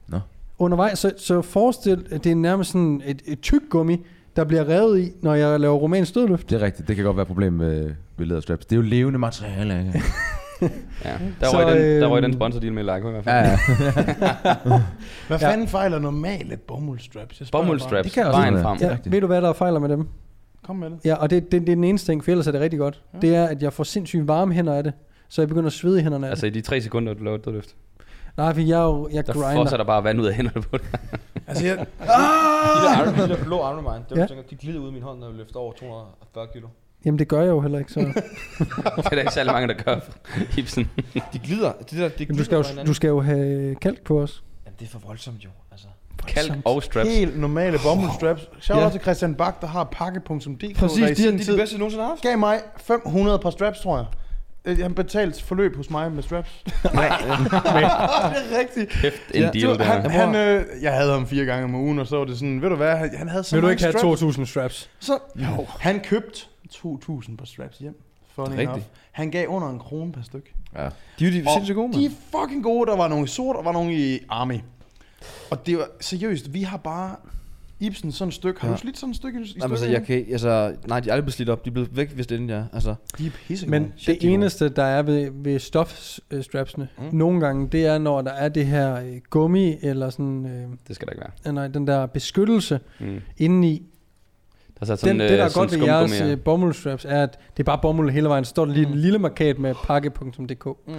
S7: Nå.
S1: Undervejs, så, så forestil, at det er nærmest sådan et, et tyk gummi, der bliver revet i, når jeg laver romansk stødløft.
S7: Det er rigtigt. Det kan godt være et problem med, med læderstraps. Det er jo levende materiale. ikke?
S2: Ja. Der,
S1: Så,
S2: røg den, der
S1: øhm,
S2: røg den sponsordeal med Laco i hvert
S7: ja,
S2: fald.
S7: ja.
S4: Hvad fanden fejler normale bomuldstraps? Jeg spørger
S2: Bomuldstraps.
S7: Det kan også
S2: Vejen
S7: være.
S2: frem.
S7: er
S1: Ja,
S7: rigtigt.
S1: ved du hvad der er fejler med dem?
S4: bare. Kom med det.
S1: Ja, og det, det, det er den eneste ting, for ellers er det rigtig godt. Ja. Det er, at jeg får sindssygt varme hænder af det, så jeg begynder at svede i hænderne af
S2: Altså i de tre sekunder, du laver et dødløft.
S1: det. Nej, for jeg, er jo- jeg
S2: Der
S1: grinder.
S2: fosser der bare vand ud af hænderne på dig.
S4: Altså, jeg,
S3: De der arm- de der blå arme mine, det
S1: Ja.
S3: var, tænker, de glider ud af min hånd, når jeg løfter over 240 kilo.
S1: Jamen det gør jeg jo heller ikke, så
S2: det er der ikke særlig mange, der gør. Ibsen.
S3: De glider. Det der, de
S1: Jamen,
S3: glider
S1: du, skal
S3: fra
S1: jo,
S3: hinanden.
S1: du skal jo have kalk på os.
S3: Jamen, det er for voldsomt jo, altså.
S2: Kalk og straps.
S4: helt normale bomuldstraps. Shout
S1: Ja.
S4: out til Christian Bak, der har pakke.dk.
S1: Præcis, de
S4: der i
S1: er-
S4: sin
S3: Det er
S4: tid
S3: de bedste, jeg nogensinde har haft.
S4: gav mig 500 par straps, tror jeg. Øh, Han betalte forløb hos mig med straps. Nej, det er rigtigt.
S2: Kæft, en
S4: Det
S2: deal
S4: var,
S2: der.
S4: han, han, øh, jeg havde ham fire gange om ugen, og så var det sådan, ved du hvad, han han havde så
S1: Vil du
S4: mange
S1: ikke have
S4: straps.
S1: 2.000 straps?
S4: Så, jo. Han købte 2.000 par straps hjem. Funny
S2: Rigtigt.
S4: enough. Han gav under en krone per stykke.
S3: De er jo de
S4: Og
S3: sindssygt gode,
S4: De er
S3: mand.
S4: fucking gode. Der var nogle i sort, og var nogle i army. Og det var seriøst, vi har bare... Ibsen, sådan et stykke. Har
S3: Ja.
S4: du slidt sådan et stykke i i
S3: Jamen, altså,
S4: stykker?
S3: jeg kan ikke- altså, nej, de er aldrig blevet slidt op. De er blevet væk, hvis det endelig er. Altså,
S4: De er pissegode.
S1: Men det
S3: de er
S1: eneste, der er ved, ved stofstrapsene, mm. nogle gange, det er, når der er det her øh, gummi, eller sådan, øh,
S2: Det skal der ikke være.
S1: ah, nej, den der beskyttelse
S2: Mm.
S1: indeni.
S2: Der er sat
S1: Sådan, den,
S2: sådan, øh,
S1: det, der er
S2: sådan
S1: godt ved
S2: skumgummi
S1: jeres
S2: her.
S1: øh, bomuldstraps, er, at det er bare bomuld hele vejen. Så står der lige mm. en lille markat med pakke.dk. Mm.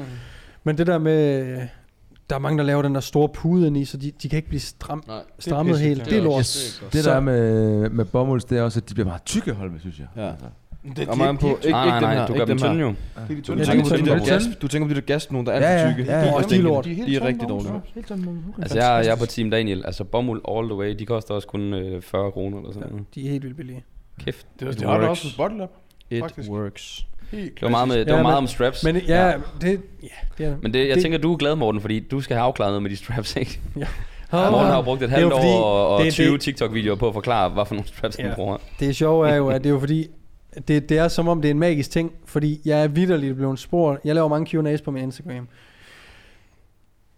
S1: Men det der med, øh, der er mange, der laver den der store pude indeni, så de, de kan ikke blive stram,
S3: nej.
S1: strammet helt. Det er lort.
S3: Yes.
S7: Det
S1: Så-
S7: der er med, med bomulds, det er også, at de bliver meget tykke, Holme, synes jeg.
S3: Ja.
S7: Altså,
S4: Det
S3: Kommer an på, ikke, ikke
S2: Nej, nej,
S3: dem
S2: nej,
S3: her,
S2: du
S3: ikke
S2: gør dem
S3: dem her.
S2: tynde jo.
S4: Det er de
S3: Du
S4: tynde.
S1: Ja,
S3: tænker, på de
S1: tynde.
S3: der
S1: Ja,
S3: gas,
S1: tynde.
S3: du tænker på de der gasnogen, der er
S7: Ja,
S3: alt for
S7: ja,
S3: tykke.
S7: ja, ja.
S1: Og de er lort.
S4: helt
S3: De er
S4: tomme
S3: rigtig
S4: vogne,
S3: dårlige.
S4: så. Helt tomme vogne.
S2: Altså, jeg, er- jeg er på Team Daniel. Altså, bomuld all the way, de koster også kun øh, 40 kroner eller sådan noget.
S1: De er helt vildt billige.
S2: Kæft.
S4: Det var
S2: it
S4: det har du
S2: works.
S4: også på Bottle Up.
S3: It
S4: Faktisk.
S3: works.
S4: Helt
S2: Det var meget, med, det
S1: Ja,
S2: var meget
S1: men-
S2: om straps.
S1: Men ja, ja. det... Ja, det er
S2: Men det, jeg
S1: Det-
S2: tænker, du er glad, Morten, fordi du skal have afklaret noget med de straps, ikke?
S1: Åh,
S2: Morten har jo brugt et
S1: det er
S2: halvt
S1: jo fordi-
S2: år og, og
S1: det er
S2: 20
S1: det-
S2: TikTok-videoer på at forklare, hvad for nogle straps, han
S1: Ja.
S2: bruger.
S1: Det sjove er jo, at det er jo fordi, det, det er som om, det er en magisk ting, fordi jeg er vidderligt blevet spurgt. Jeg laver mange Q&A's på min Instagram.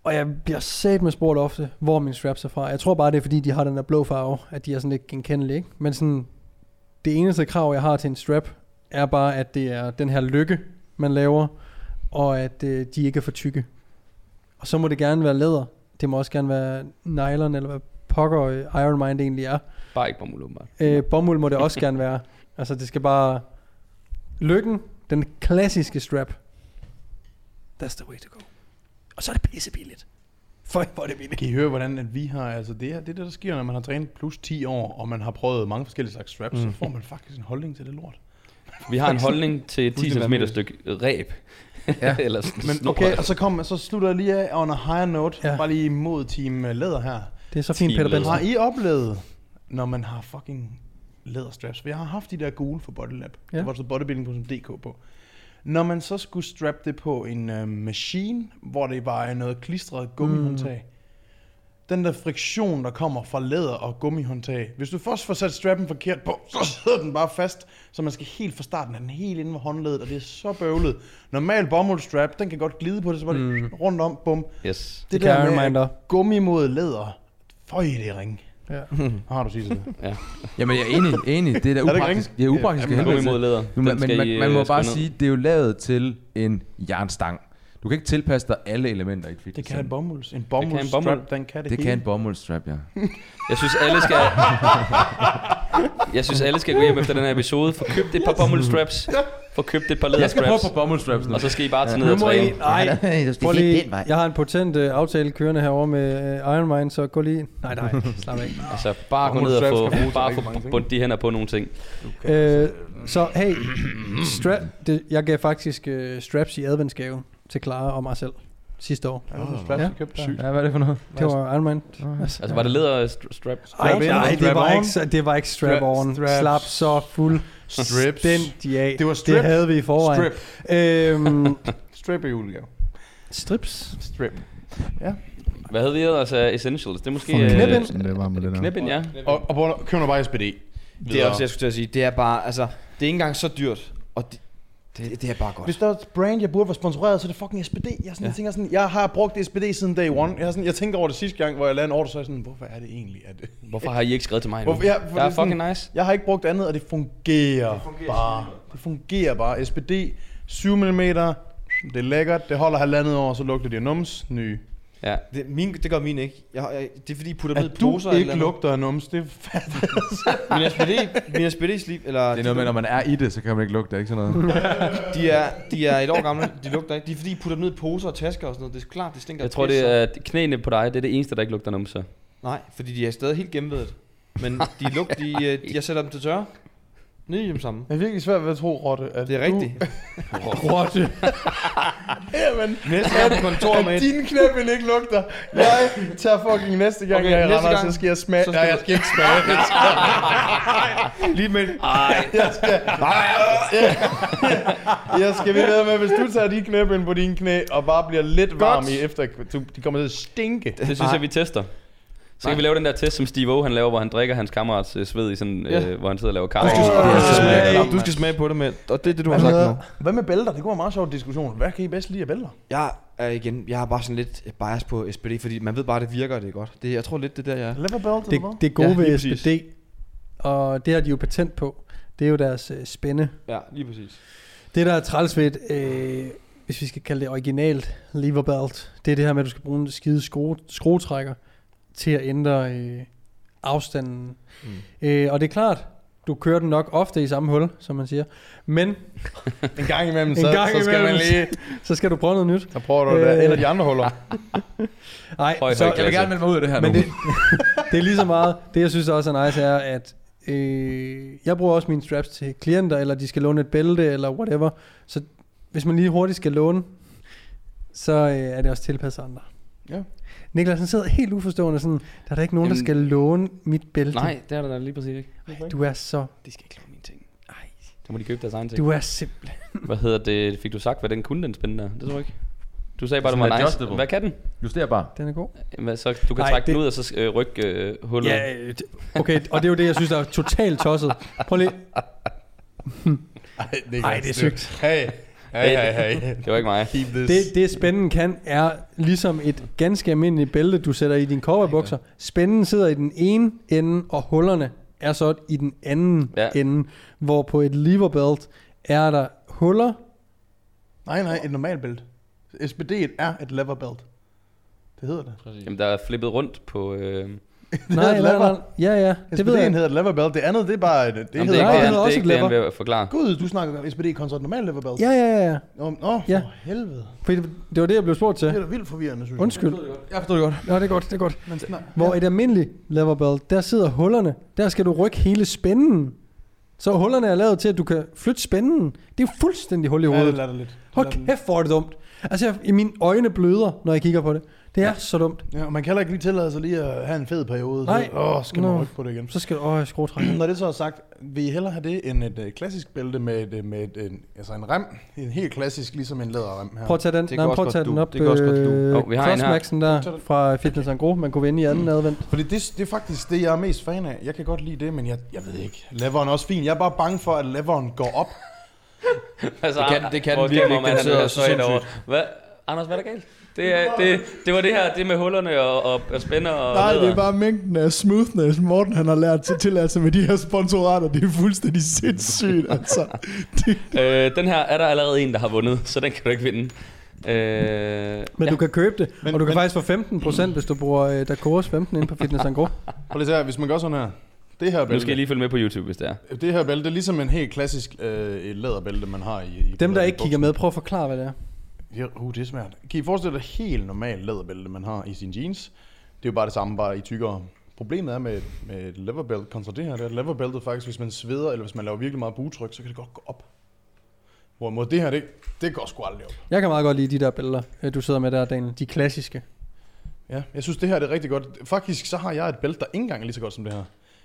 S1: Og jeg bliver sat med spurgt ofte, hvor mine straps er fra. Jeg tror bare, det er fordi, de har den der blå farve, at de er sådan lidt genkendelige. Ikke? Men sådan, det eneste krav, jeg har til en strap, er bare, at det er den her lykke, man laver, og at øh, de ikke er for tykke. Og så må det gerne være læder. Det må også gerne være nylon, eller hvad pokker øh, Iron Mind egentlig er.
S2: Bare ikke bomuld, åbenbart.
S1: Øh, bomuld må det også gerne være. Altså, det skal bare... Lykken, den klassiske strap. That's the way to go. Og så er det pissebilligt. For hvor er det billigt.
S4: Kan I høre, hvordan at vi har, altså det er det, er det, der sker, når man har trænet plus 10 år, og man har prøvet mange forskellige slags straps, mm. så får man faktisk en holdning til det lort.
S2: Vi har en holdning til 10
S3: Fuldstændig
S2: cm stykke ræb. Ja. Eller sådan
S4: Men okay, og så, kom, så slutter jeg lige af on a higher note,
S1: Ja.
S4: ja. bare lige mod Team øh, Læder her.
S1: Det er så fint, Peter
S2: Team
S1: Benson.
S4: Har I oplevet, når man har fucking læderstraps? For jeg har haft de der gule for Bodylab.
S1: Ja.
S4: Ja. Der var så bodybuilding.dk på. Når man så skulle strap det på en øh, machine, hvor det var øh, noget klistret gummihåndtag. Mm. Den der friktion, der kommer fra læder og gummihåndtag. Hvis du først får sat strappen forkert på, så sidder den bare fast. Så man skal helt fra starten have den helt inde ved håndledet, og det er så bøvlet. Normal bomuldstrap, den kan godt glide på det, så var det mm. rundt om, bum.
S2: Yes.
S4: Det,
S1: kan jeg
S4: der med
S1: remind dig.
S4: at gummi mod læder. Føj, det er ringe.
S1: Ja.
S4: Har du sige det?
S7: Jamen, jeg er enig, enig. Det er da
S4: det ikke
S7: upraktisk. Det er upraktisk.
S4: Ja,
S7: af
S2: Gå
S7: helvede
S2: imod
S7: til.
S2: læder.
S7: Nu, man,
S2: Den skal
S7: man,
S2: I,
S7: man, man må
S2: øh,
S7: bare
S2: skrive ned.
S7: sige, det er jo lavet til en jernstang. Du kan ikke tilpasse dig alle elementer i et
S4: Det
S7: fitness.
S4: kan en bomulds. En
S2: bomulds- bomuld.
S4: bomuldstrap, den kan det,
S7: det
S4: hele.
S7: kan en bomuldstrap, ja.
S2: Jeg synes, alle skal... jeg synes, alle skal gå hjem efter den her episode. Få købt et par bomuldstraps. Få købt et par
S7: Jeg skal prøve
S2: læderstraps.
S7: på bomuldstraps nu.
S2: Og så skal I bare tage ned
S1: Nu
S2: og
S1: må I...
S2: træne.
S1: Nej,
S7: Nej,
S1: prøv lige. Jeg har en potent øh, aftale kørende herovre med øh, Iron Mind, så gå lige... Nej, nej, slap af.
S2: Altså, bare gå ned og få, bare få bundt de hænder på nogle ting.
S1: Øh, så hey, strap, det, jeg gav faktisk øh, straps i adventsgave til Clara og mig selv sidste år.
S4: Ja, det er straps,
S1: Ja.
S4: vi købte der.
S5: Ja, hvad er det for noget?
S1: Det var Iron Mind.
S2: Altså, var det læder str- strap?
S1: Ej,
S4: Strap-in
S1: nej,
S4: og
S1: det var,
S4: strap-on.
S1: ikke, så- det var ikke strap on.
S4: Straps.
S1: Slap så fuld
S4: Strips.
S1: stændig af.
S4: Det var strip.
S1: Det havde vi i forvejen.
S4: Strip.
S1: Øhm,
S4: Strip er julegave.
S1: strips.
S4: Strip.
S2: Hvad havde vi ellers af Essentials? Det er måske...
S6: Fucking
S2: øh,
S1: knæbind.
S6: sådan det var med det der.
S2: Knæbind, ja.
S4: Og, og prøv at- køb nu bare SPD.
S3: Det er også det, jeg skulle til at sige. Det er bare, altså, det er ikke engang så dyrt. Og det, det, det er bare godt.
S4: Hvis der er et brand, jeg burde være sponsoreret, så er det fucking SPD. Jeg, er sådan, ja. jeg tænker sådan, jeg har brugt SPD siden day one. Jeg, er sådan, jeg tænker over det sidste gang, hvor jeg lavede en ordre, så er jeg sådan, hvorfor er det egentlig? At,
S2: Hvorfor har I ikke skrevet til mig nu?
S4: Hvorfor- ja, for
S2: det
S4: det
S2: er
S4: er sådan-
S2: fucking nice.
S4: jeg har ikke brugt andet, og det fungerer, det fungerer bare. Det fungerer bare. SPD, 7 mm, det er lækkert, det holder halvandet år, så lugter det af nums, ny.
S2: Ja.
S3: Det, min, det gør min ikke. Jeg, har- jeg, det er fordi, I putter dem ned i
S4: At du
S3: poser
S4: ikke
S3: eller andet.
S4: lugter af nums, det fatter
S3: Min SPD, min SPD slip, eller
S7: Det er noget med, når man er i det, så kan man ikke lugte, det er ikke sådan noget?
S3: de, er, de er et år gamle, de lugter ikke. Det er fordi, I putter dem ned i poser og tasker og sådan noget. Det er klart, det stinker.
S2: Jeg tror,
S3: pisse.
S2: det er at knæene på dig, det er det eneste, der ikke lugter numse.
S3: Nej, fordi de er stadig helt gennemvedet. Men de lugter, de, øh, de, jeg sætter dem til tørre. Ned i dem sammen.
S4: Jeg er virkelig svært ved at tro, Rotte, at
S3: Det er rigtigt.
S4: Rotte. Jamen,
S3: Næste gang på kontoret med
S4: at
S3: et,
S4: din knæben ikke lugter. Jeg tager fucking næste gang,
S3: Okay,
S4: okay, jeg
S3: næste
S4: render, gang,
S3: gang,
S4: så skal jeg smage.
S3: så skal
S4: Nej, jeg
S3: du-
S4: skal ikke smage. Jeg skal,
S3: lige med et-
S4: jeg skal ved med, hvis du tager de knæben på dine knæ, og bare bliver lidt varm i efter, du, de kommer til at stinke.
S2: Det synes jeg, vi tester. Så kan vi lave den der test, som Steve O han laver, hvor han drikker hans kammerats øh, sved i sådan,
S3: Ja.
S2: øh, hvor han sidder og laver kaffe. altså
S3: Du skal
S4: Ej.
S3: smage- Du skal smage på det med. Og det er det, du har sagt nu.
S4: Altså, Hvad med bælter? Det kunne være en meget sjov diskussion. Hvad kan I bedst lide af bælter?
S3: Jeg er igen, jeg er bare sådan lidt bias på SPD, fordi man ved bare, det virker, og det er godt. Det, jeg tror lidt, det er der, jeg er.
S4: Lever belt
S1: Det,
S4: eller hvad?
S1: det gode
S3: Ja, lige
S1: ved
S3: præcis.
S1: SPD, og det har de jo patent på, det er jo deres øh, spænde.
S3: Ja, lige præcis.
S1: Det, der er træls ved et, øh, hvis vi skal kalde det originalt leverbelt, det er det her med, at du skal bruge en skide skrue, skruetrækker til at ændre øh, afstanden. Mm. Øh, og det er klart, du kører den nok ofte i samme hul, som man siger. Men
S4: En gang imellem,
S1: En
S4: så,
S1: gang
S4: så skal
S1: imellem.
S4: man lige...
S1: så skal du prøve noget nyt.
S4: Så prøver du det.
S1: Øh.
S4: Eller de andre huller.
S1: Nej,
S2: Høj, høj
S1: så,
S2: klasse.
S7: Altså,
S5: melde mig ud af det her
S1: Men det, det er lige så meget. Det, jeg synes også er nice, er, at Øh, jeg bruger også mine straps til klienter, eller de skal låne et bælte, eller whatever. Så hvis man lige hurtigt skal låne, så øh, er det også tilpasset andre.
S4: Ja.
S1: Niklas, han sidder helt uforstående sådan, der er der ikke nogen, Jamen, der
S2: Jamen-
S1: skal låne mit bælte.
S2: Nej, det er der da lige præcis ikke.
S1: Du er så,
S2: De skal ikke låne mine ting. Nej. Så må de købe deres egen ting.
S1: du er simpelthen.
S2: Hvad hedder det? Fik du sagt, hvad den kunne, den spændende? Det tror jeg ikke. Du sagde bare, det
S5: Sådan
S2: var nice.
S5: adjustable.
S2: Hvad kan den?
S7: Juster bare.
S1: Den er god.
S2: Hvad, så du kan
S1: Nej,
S2: Nej, trække det...
S1: det-
S2: den ud, og så øh, rykke øh, hullet.
S1: Ja, øh, det- okay, og det er jo det, jeg synes, der er totalt tosset. Prøv lige.
S4: Ej, det
S1: Ej, det er sygt.
S4: Hey, hey, hey, hey.
S2: Det var ikke mig.
S4: Keep this.
S1: Det, det spænden kan, er ligesom et ganske almindeligt bælte, du sætter i dine cowboybukser. Spænden sidder i den ene ende, og hullerne er så i den anden ja.
S2: Ja.
S1: ende, hvor på et leverbelt er der huller.
S4: Nej, nej, et normalt bælte. SPD er et lever belt. Det hedder det.
S2: Jamen, der er flippet rundt på... Øh...
S1: Nej,
S4: et
S1: nej,
S4: lever.
S1: nej. Ja, ja, det
S4: SPD
S1: ved jeg.
S4: hedder et lever belt. Det andet, det er bare... Det, det
S2: Jamen,
S4: hedder
S1: ikke
S4: bare...
S1: det hedder
S2: det,
S1: også
S2: er
S1: et
S2: ikke det, han
S1: lever.
S2: vil forklare.
S4: Gud, du snakker om SPD kontra et normalt lever belt.
S1: Ja, ja, ja.
S4: Åh, oh, for
S1: Ja.
S4: helvede.
S1: Fordi det det var det, jeg blev spurgt
S4: Det er
S1: til.
S4: da vildt forvirrende, synes jeg.
S1: Undskyld.
S5: Jeg forstår det godt.
S1: Nå, det er godt, det er godt.
S4: Men snak.
S1: Hvor et almindeligt leverbelt, der sidder hullerne. Der skal du rykke hele spænden. Så hullerne er lavet til, at du kan flytte spænden. Det er jo fuldstændig hul i
S4: Ja, det
S1: hovedet.
S4: lader det lidt.
S1: Hold kæft, hvor er det dumt. Altså, jeg, i mine øjne bløder, når jeg kigger på det. Det er ja. så dumt.
S4: Ja, og man kan heller ikke lige tillade sig lige at have en fed periode.
S1: Nej.
S4: Nej. Åh, skal
S1: Nå.
S4: man rykke på det igen.
S1: Så skal du... Åh, jeg skruer træk.
S4: Når det så er sagt, vil I hellere have det end et øh, klassisk bælte med, et, øh, med et, en, altså en rem? En helt klassisk, ligesom en læderrem her.
S1: Prøv at tage den,
S3: Det kan
S1: nej, men
S3: også
S1: prøv at tage
S3: godt
S1: den
S3: du.
S1: op. øh,
S3: Det kan også godt du.
S2: Hov, vi har en her.
S1: Crossmaxen der fra Fitness Gro, man kunne vende i
S3: Mm.
S1: anden advent.
S4: Fordi det, det er faktisk det, jeg er mest fan af. Jeg kan godt lide det, men jeg, jeg ved ikke. Leveren er også fin. Jeg er bare bange for, at leveren går op.
S2: Altså,
S3: Det kan- det kan
S2: hvor
S3: den virkelig
S2: kameraet,
S3: ikke. Den
S2: han
S3: sidder
S2: er
S3: så
S2: straight
S3: sindssygt.
S2: over. Hvad? Anders, hvad er der galt? Det, er, det, det var det her, det med hullerne og, og, og spænder og
S6: Nej, det
S2: læder.
S6: er bare mængden af smoothness, Morten han har lært til tillært sig med de her sponsorater. Det er fuldstændig sindssygt, altså. Det,
S2: Øh, den her er der allerede en, der har vundet, så den kan du ikke vinde. Øh,
S1: Men ja. du kan købe det, men,
S4: Men-
S1: og du kan men,
S4: men-
S1: faktisk få 15%, hvis du bruger øh, Dakoros 15 ind på Fitness Gro.
S4: Prøv lige at se, hvis man gør sådan her. Det her
S2: nu skal
S4: bælte,
S2: I lige følge med på YouTube, hvis det er.
S4: lige... det her bælte det er ligesom en helt klassisk øh, et læderbælte, man har i, i
S1: Dem, der
S4: i
S1: ikke kigger
S4: buksen.
S1: med, prøv at forklare, hvad det er.
S4: Ja, uh, det er svært. Kan I forestille dig et helt normalt læderbælte, man har i sine jeans? Det er jo bare det samme, bare i tykkere. Problemet er med, med et leverbelt kontra det her, det er, at leverbæltet faktisk, hvis man sveder, eller hvis man laver virkelig meget butryk, så kan det godt gå op. Hvorimod det her, det, det går sgu aldrig op.
S1: Jeg kan meget godt lide de der billeder, øh, du sidder med der, Daniel. De klassiske.
S4: Ja, jeg synes, det her det er rigtig godt. Faktisk, så har jeg et bælte, der ikke engang er lige så godt som det her.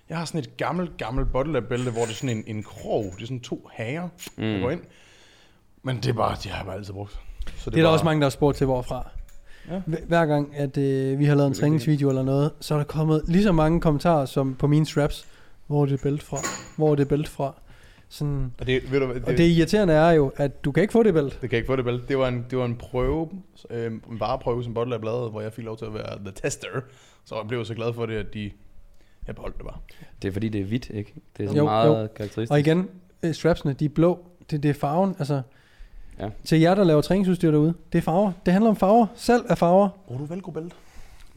S4: Jeg har sådan et gammelt, gammelt bottle-bælte, hvor det er sådan en, en krog. Det er sådan to hager, mm. der går ind. Men det er bare, det har jeg bare altid brugt. Så
S1: Det, det er der
S4: bare-
S1: også mange, der har spurgt til, hvorfra. Ja.
S4: Ja.
S1: Hver gang, at øh, vi har lavet en træningsvideo eller noget, så er der kommet lige så mange kommentarer som på mine straps. Hvor er det bælte fra? Hvor er det bælte fra? Sådan.
S4: Og det, ved du, hvad, det,
S1: Og det irriterende er jo, at du kan ikke få det bælte.
S4: Det kan jeg ikke få det vel. Det var en, det var en prøve, øh, en vareprøve som Bottle Lab lavede, hvor jeg fik lov til at være the tester. Så jeg blev så glad for det, at de... Jeg beholdt det bare.
S2: Det er fordi, det er hvidt, ikke? Det er så
S1: Jo,
S2: jo, meget jo. karakteristisk.
S1: Og igen, øh, strapsene, de er blå. Det, det er farven. Altså, ja.
S2: Ja.
S1: Til jer, der laver træningsudstyr derude, det er farver. Det handler om farver. Selv er farver.
S4: Bruger du velcro-bælte?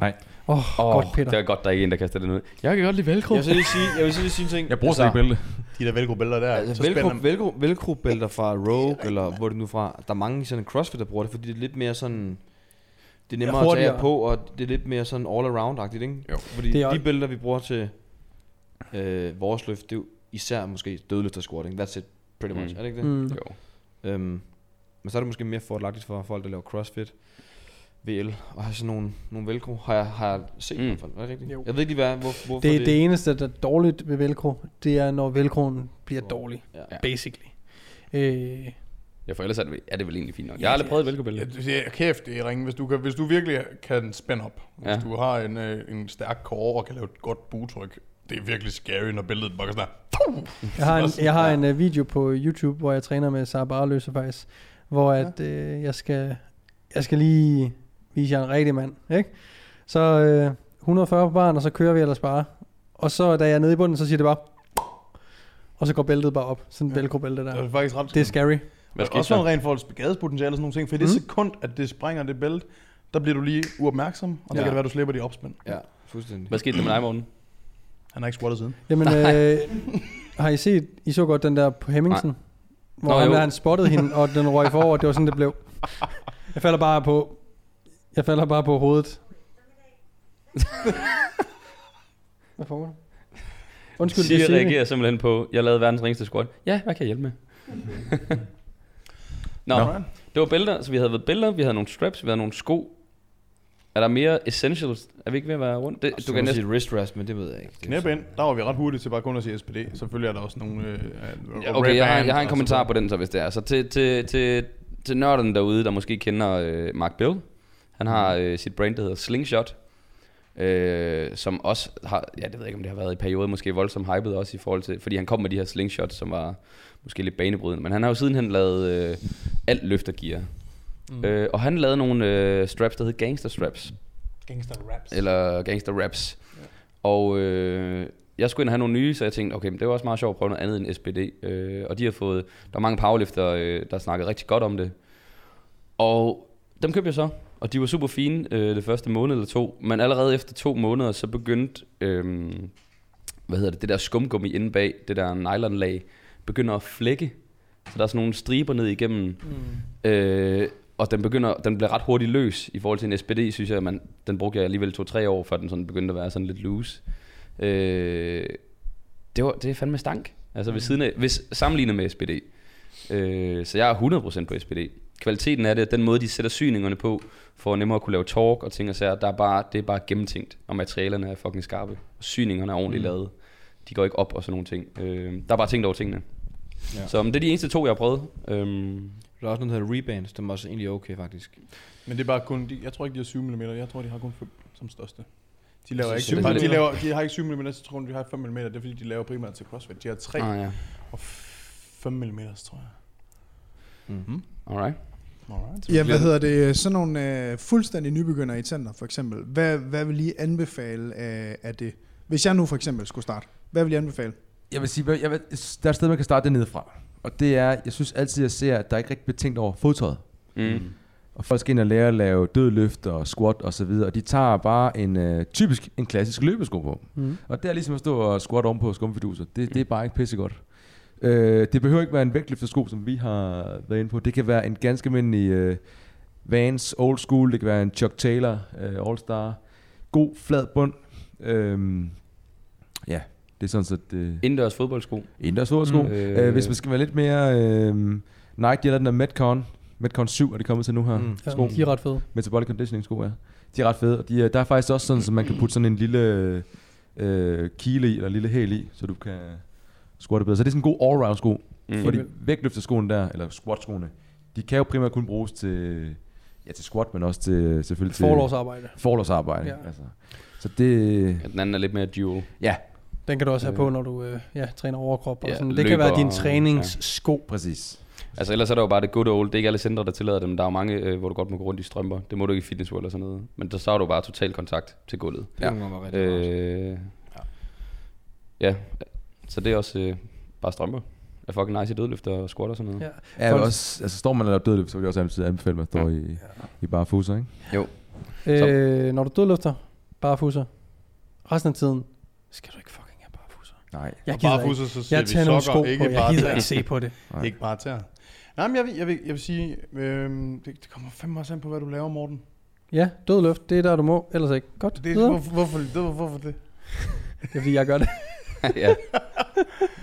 S1: Åh, oh,
S2: Åh,
S1: oh, godt, Peter.
S2: Det er godt, der er ikke en, der kaster den ud. Jeg kan godt lide velcro.
S3: Jeg vil lige sige, jeg vil så lige sige en ting.
S5: Jeg bruger slet ikke
S7: Altså,
S5: bælte.
S4: De der velcro-bælter der, altså, så
S3: Altså,
S4: spænder
S3: velcro, velcro, velcro bælter fra Rogue, eller hvor det nu er fra, der er mange i sådan en crossfit, der bruger det, fordi det er lidt mere sådan... Det er nemmere ja, at tage
S1: hurtigere.
S3: af på, og det er lidt mere sådan all around-agtigt, ikke? Jo. Fordi
S1: Det
S3: det
S1: er
S3: er de
S1: også-
S3: bælter, vi bruger til øh, vores løft, det er jo især måske dødløft og squat, ikke? That's it, pretty much.
S2: Mm.
S3: Mm. Er det ikke det?
S1: Mm.
S2: Jo.
S3: Øhm, men så er det måske mere fordelagtigt for folk, der laver crossfit, VL, og har sådan nogle, nogle velcro, har jeg, har jeg set mm.
S2: Mm.
S3: i hvert fald. Er det rigtigt?
S1: Jo.
S3: Jeg ved ikke lige, hvad, hvor, hvorfor
S1: Det, det eneste, der er dårligt ved velcro, det er, når velcroen bliver dårlig.
S3: Ja.
S1: Basically. Øh,
S2: Ja, for ellers er det, er det vel egentlig fint nok. Jeg har aldrig prøvet velcro
S4: Ja, det- det er kæft, det er ringe. Hvis du, kan, hvis du virkelig kan spænde op, hvis
S2: Ja.
S4: du har en, øh, en stærk core og kan lave et godt butryk, det er virkelig scary, når billedet bare kan sådan her.
S1: Jeg har en, jeg har en uh, video på YouTube, hvor jeg træner med Sara Barløse faktisk, hvor at, øh, jeg, skal, jeg skal lige vise jer en rigtig mand. Ikke? Så øh, 140 på barn, og så kører vi ellers bare. Og så da jeg er nede i bunden, så siger det bare... Og så går bæltet bare op. Sådan en
S4: Ja.
S1: velcro-bælte
S4: Det er
S1: der.
S4: faktisk ret
S1: Det er scary.
S2: Hvad
S4: Og
S2: skete
S4: også sådan
S2: så?
S4: rent forhold til skadespotentiale og sådan nogle ting, for i det
S1: Mm.
S4: sekund, at det springer det bælte, der bliver du lige uopmærksom, og ja.
S3: Ja.
S4: der kan det være, du slipper de opspænd.
S3: Ja, fuldstændig.
S2: Hvad skete der med dig, Morten?
S4: Han har ikke squattet siden.
S1: Jamen, øh, har I set, I så godt den der på Hemmingsen? Nej. Hvor
S2: Nå,
S1: han,
S2: jo.
S1: han spottede hende, og den røg forover, det var sådan, det blev. Jeg falder bare på, jeg falder bare på hovedet. Hvad foregår der? Undskyld, det er
S2: Siri
S1: Siri.
S2: reagerer simpelthen på, jeg lavede verdens ringeste squat. Ja, hvad kan jeg hjælpe med? Nå,
S4: Nå.
S2: no. det var bælter, så vi havde været bælter, vi havde nogle straps, vi havde nogle sko. Er der mere essentials? Er vi ikke ved at være rundt? Det, du kan næsten...
S3: sige wrist rest, men det ved jeg ikke.
S4: Knæb ind, der var vi ret hurtigt til bare kun at sige SPD. Selvfølgelig er der også nogle... Øh, øh,
S2: Ja,
S4: red
S2: Okay, jeg har, jeg har
S4: band og
S2: en
S4: så videre.
S2: kommentar på den så, hvis det er. Så til, til, til, til nørden derude, der måske kender øh, Mark Bill. Han har
S4: Mhm.
S2: øh, sit brand, der hedder Slingshot. Øh, som også har, ja, det ved jeg ikke, om det har været i perioder måske voldsomt hypet også i forhold til, fordi han kom med de her slingshots, som var måske lidt banebrydende, men han har jo sidenhen lavet øh, alt løftergear.
S4: Mhm.
S2: Mm. Øh, og han lavede nogle øh, straps, der hed Gangster Straps
S8: Gangster raps.
S2: eller Gangster Raps. Ja. Og øh, jeg skulle ind og have nogle nye, så jeg tænkte, okay, men det var også meget sjovt at prøve noget andet end SPD. Øh, og de har fået, der er mange powerlifter, øh, der snakkede rigtig godt om det. Og dem købte jeg så, og de var super fine øh, det første måned eller to. Men allerede efter to måneder, så begyndte, øh, hvad hedder det, det der skumgummi inde bag, det der nylonlag, begynder at flække. Så der er sådan nogle striber ned igennem. Mm. Øh, og den, begynder, den bliver ret hurtigt løs i forhold til en SPD, synes jeg. at Man, den brugte jeg alligevel 2-3 år, før den sådan begyndte at være sådan lidt loose. Øh, det, var, det er fandme stank. Altså ved siden af, hvis, sammenlignet med SPD. Øh, så jeg er 100% på SPD. Kvaliteten af det, den måde de sætter syningerne på, for nemmere at kunne lave torque og ting og sager, der er bare, det er bare gennemtænkt, og materialerne er fucking skarpe. Og syningerne er ordentligt mm. lavet. De går ikke op og sådan nogle ting. Øh, der er bare tænkt over tingene. Ja.
S3: Ja.
S2: Så men det er de eneste to, jeg har prøvet. Øhm,
S3: Der er også noget, der hedder rebands, som også egentlig er okay, faktisk.
S4: Men det er bare kun, de, jeg tror ikke, de har 7 mm, jeg tror, de har kun 5 som største. De laver
S2: Syv
S4: ikke, de, de,
S2: millimeter?
S4: laver, de har ikke 7 mm, så tror jeg, de har 5 mm, det er fordi, de laver primært til CrossFit. De har 3
S2: ah, ja.
S4: og 5 mm, tror jeg.
S3: Mm.
S2: Alright.
S4: Alright.
S6: Ja, hvad hedder det? Sådan nogle øh, fuldstændig nybegynder i tænder, for eksempel. Hvad, hvad vil I anbefale øh, af det? Hvis jeg nu for eksempel skulle starte, hvad vil I anbefale?
S5: Jeg vil sige, hvad- jeg vil, der er et sted, man kan starte det nedefra. Og det er, jeg synes altid, jeg ser, at der ikke rigtig bliver tænkt over fodtøjet.
S2: Mm.
S5: Og folk skal ind og lære at lave dødløft og squat og så videre. Og de tager bare en øh, typisk en klassisk løbesko på. Mm. Og det er ligesom at stå og squat ovenpå på skumfiduser. Det, det er bare ikke pissegodt. Øh, det behøver ikke være en vægtløftersko, som vi har været inde på. Det kan være en ganske almindelig øh, Vans Old School. Det kan være en Chuck Taylor øh, All Star. God flad bund. Øh, ja, det er sådan set... Øh,
S2: Indendørs fodboldsko.
S5: Indendørs fodboldsko. Mm.
S2: Mm.
S5: Øh, hvis man skal være lidt mere... Øh, Nike, de har lavet den der Metcon. Metcon 7 er de kommet til nu her. Mm. Sko.
S1: Ja, de er ret fede.
S5: Metabolic Conditioning sko, ja. De er ret fede. Og de, øh, der er faktisk også sådan, så man kan putte sådan en lille øh, kile i, eller en lille hæl i, så du kan squatte bedre. Så det er sådan en god allround sko. Mm.
S2: Mm.
S5: Fordi vægtløfterskoen der, eller squatskoene, de kan jo primært kun bruges til, ja, til squat, men også til, selvfølgelig til
S1: Forlovsarbejde.
S5: forlovsarbejde. Ja.
S1: Ja.
S5: Altså. Så det,
S2: Ja, Den anden er lidt mere dual.
S5: ja,
S1: Den kan du også have på, når du øh, ja, træner overkrop og
S2: Ja,
S1: sådan. Det kan
S2: løber
S1: være din
S2: og-
S1: træningssko.
S5: præcis.
S2: Altså ellers er der jo bare det good old, det er ikke alle centre, der tillader dem. Der er jo mange, øh, hvor du godt må gå rundt i strømper. Det må du ikke i Fitness World og sådan noget. Men der så har du bare total kontakt til gulvet.
S3: Det ja. var rigtig øh,
S2: Øh, ja. Så det er også øh, bare strømper. Er fucking nice i dødløfter og squat og sådan noget.
S1: Ja.
S2: Ja.
S5: Ja, jeg vil
S1: Folk-
S5: også, altså står man og laver dødløb, så vil jeg også altid anbefale, at man står i, i bare fuser, ikke?
S4: Mm.
S1: Øh, når du dødløfter, barefusser. Resten af tiden skal du ikke fucking have barefusser.
S5: Nej.
S1: Jeg
S4: og
S1: gider
S4: bare
S1: ikke.
S4: fusser, så siger
S1: Jeg
S4: vi
S1: tager nogle sko
S4: sokker,
S1: på,
S4: ikke
S1: jeg
S4: bare
S1: gider
S4: tæer.
S1: ikke se på det.
S5: Nej.
S4: Ikke bare tæer. Nej, men jeg vil, jeg vil, jeg vil sige, øhm, det, det kommer fandme også an på, hvad du laver, Morten.
S1: Ja, dødløft, det er der, du må. Ellers ikke. Godt,
S4: Det,
S1: videre.
S4: hvorfor, hvorfor, det, hvorfor det?
S1: Det er fordi, jeg gør det.
S2: ja.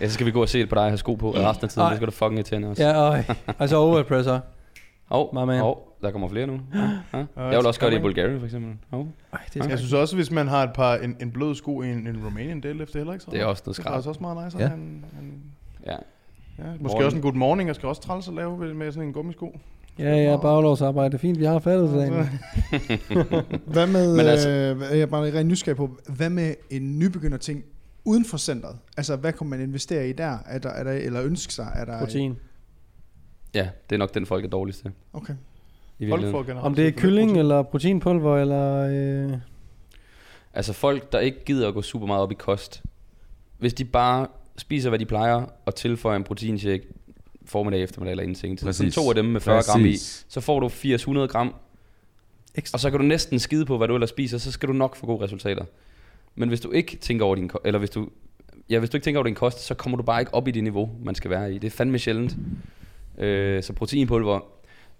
S2: ja. så skal vi gå og se det på dig og have sko på resten af tiden.
S1: Ej.
S2: Det skal du fucking irritere os.
S1: Ja, og altså overpresser.
S2: Hov,
S1: My man.
S2: hov, der kommer flere nu. Ja. Ja. Jeg vil også gøre det i Bulgarien for eksempel. Hov.
S1: Ej, det er
S4: Jeg
S1: sgu-
S4: synes også, hvis man har et par, en, en blød sko i en, en Romanian deadlift, det er heller ikke så.
S2: Det er også noget
S4: Det er
S2: skrald.
S4: faktisk også meget nice.
S5: Ja.
S4: Ja. En, en,
S2: Ja.
S4: ja, måske
S2: Morgen.
S4: også en good morning. Jeg skal også træls at lave med- med sådan en gummisko.
S1: Ja, ja, baglovsarbejde. Fint, vi har fattet det.
S4: Altså,
S6: Hvad med,
S2: Men altså-
S6: øh, jeg er bare rent nysgerrig på, hvad med en nybegynder ting uden for centret? Altså, hvad kunne man investere i der? Er der, er der eller ønske sig? Er der,
S1: Protein.
S2: ja, det er nok den folk er dårligst til.
S6: Okay.
S2: I
S4: Folk
S2: virkeligheden.
S4: får generelt
S1: Om det er
S4: set for lidt
S1: kylling
S4: protein.
S1: eller proteinpulver eller... Øh,
S2: Altså folk, der ikke gider at gå super meget op i kost. Hvis de bare spiser, hvad de plejer, og tilføjer en proteinshake formiddag, eftermiddag eller inden sengetid. Sådan
S5: Præcis.
S2: to af dem med 40 Præcis. gram i.
S5: Præcis.
S2: Så får du 80-100 gram.
S1: Ekstra.
S2: Og så kan du næsten skide på, hvad du ellers spiser, så skal du nok få gode resultater. Men hvis du ikke tænker over din ko- eller hvis du, ja, hvis du ikke tænker over din kost, så kommer du bare ikke op i det niveau, man skal være i. Det er fandme sjældent. Øh, så proteinpulver.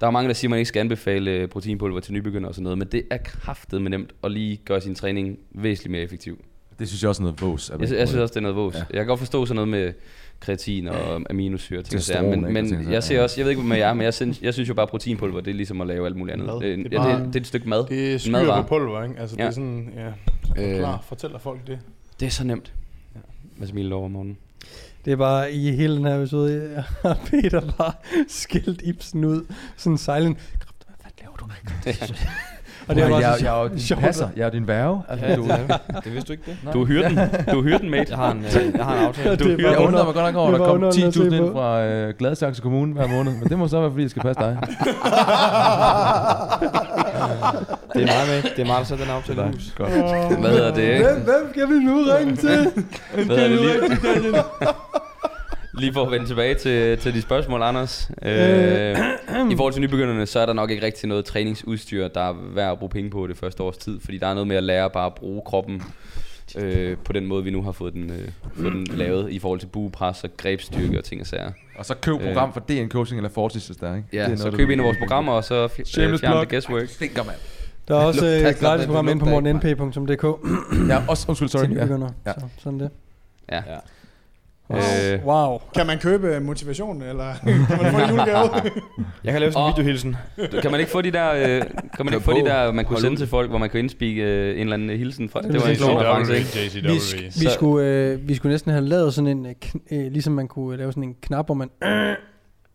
S2: Der er mange, der siger, at man ikke skal anbefale øh, proteinpulver til nybegyndere og sådan noget, men det er kraftet med nemt at lige gøre sin træning væsentligt mere effektiv.
S5: Det synes jeg også er noget vås. at man
S2: Jeg, sy-
S5: ikke
S2: jeg
S5: bruger
S2: synes også, det er noget vås.
S5: Ja.
S2: Ja. Jeg kan godt forstå sådan noget med kreatin og aminosyre ting.
S5: Testosteron,
S2: Der, men
S5: ikke? Og ting og
S2: men
S5: sager,
S2: jeg ser
S5: ja.
S2: også, jeg ved ikke, hvad med jer, men jeg synes, jeg synes jo bare, proteinpulver, det er ligesom at lave alt muligt andet.
S4: Mad.
S2: Det, det,
S4: Det
S2: det,
S4: er
S2: ja,
S4: bare-
S2: det, det er et stykke mad.
S4: Det er
S2: Mad
S4: skyer
S2: var-
S4: på pulver, ikke? Altså, ja. det
S2: Ja.
S4: er sådan, ja.
S2: Øh.
S4: Klar, fortæller folk det.
S2: Det er så nemt. Hvad smiler du over om morgenen?
S1: Det er bare i hele den her episode, jeg har Peter bare skældt Ibsen ud. Sådan silent. Hvad laver du? og det er
S5: jeg,
S1: bare
S5: jeg,
S1: så
S5: jeg, er jo din
S1: sjovt.
S5: passer, jeg er jo din værve. Altså,
S3: Ja,
S5: du,
S3: det, det vidste du ikke det?
S2: Du er hyrden. Du er hyrden, mate.
S3: Jeg har en, øh, jeg har en aftale.
S1: Det er bare
S5: jeg undrer mig godt nok over,
S1: det
S5: at der
S1: var
S5: kom
S1: underholdende at se
S5: 10.000 ind
S1: på.
S5: fra øh, Gladsaxe Kommune hver måned. Men det må så være, fordi jeg skal passe dig.
S3: Det er mig med. Det er mig, der sætter den aftale i hus.
S5: Godt.
S2: Hvad hedder det, ikke?
S1: Hvem, hvem skal vi nu ringe til?
S2: Hvad hedder det lige? lige for at vende tilbage til, til de spørgsmål, Anders. Øh, I forhold til nybegynderne, så er der nok ikke rigtig noget træningsudstyr, der er værd at bruge penge på det første års tid, fordi der er noget med at lære bare at bruge kroppen øh, på den måde, vi nu har fået den, øh, fået den lavet i forhold til buepres og grebstyrke og ting og sager.
S5: Og så køb program for DN Coaching eller Fortis, hvis der er, ikke?
S2: Ja, så køb en af vores programmer, og så fj-
S5: Shameless
S2: øh, fjern
S5: plug.
S2: det guesswork.
S5: Stinker, mand.
S1: Der er også øh, et
S3: Pas
S1: gratis
S3: godt,
S1: program
S3: den
S1: inde på
S3: lugter ikke,
S1: morgenndp.dk
S5: Ja, også, undskyld, sorry.
S1: til
S5: Ja.
S1: nybegyndere.
S5: Ja.
S1: Så, sådan det.
S2: Ja.
S3: Ja.
S2: Øh,
S1: Wow.
S6: Kan man
S4: øh,
S6: købe motivation, eller kan man få en julegave?
S3: Jeg kan lave sådan en
S2: Og-
S3: videohilsen.
S2: kan man ikke få de der, øh, kan man ikke få de der, man kunne sende til folk, hvor man kunne indspikke øh, en eller anden hilsen fra? Det var en
S1: præcis.
S2: sjov reference, ikke?
S4: JCW.
S1: Vi, sk- vi,
S2: Så-
S1: skulle, øh, vi skulle næsten have lavet sådan en, øh, kn- øh, ligesom man kunne lave sådan en knap, hvor man, øh,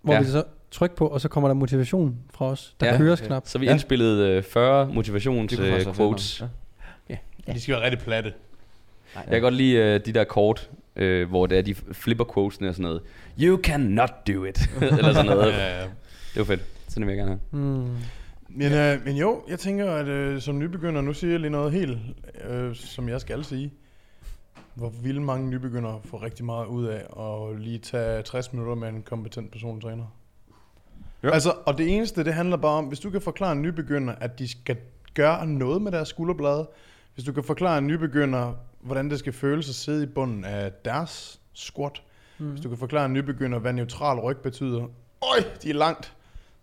S1: hvor
S2: Ja.
S1: vi så trykker på, og så kommer der motivation fra os. Der
S2: Ja.
S1: ja, høres knap.
S2: Så vi
S1: Ja.
S2: indspillede øh, 40
S3: Det kunne faktisk være
S2: motivationsquotes.
S3: fedt
S2: Øh,
S3: nok.
S4: De skal være rigtig platte.
S2: jeg kan godt lide øh, de der kort, øh, hvor det er, de flipper quotesene og sådan noget. You cannot do it. Eller sådan noget.
S4: Ja, ja.
S2: Det var fedt. Sådan vil jeg gerne have.
S1: Mm.
S4: Men, øh, men jo, jeg tænker, at øh, som nybegynder, nu siger jeg lige noget helt, øh, som jeg skal sige. Hvor vil mange nybegyndere få rigtig meget ud af at lige tage 60 minutter med en kompetent personlig træner? Ja. Altså, og det eneste, det handler bare om, hvis du kan forklare en nybegynder, at de skal gøre noget med deres skulderblade, hvis du kan forklare en nybegynder, hvordan det skal føles at sidde i bunden af deres squat, mm. hvis du kan forklare en nybegynder, hvad neutral ryg betyder, øj, de er langt.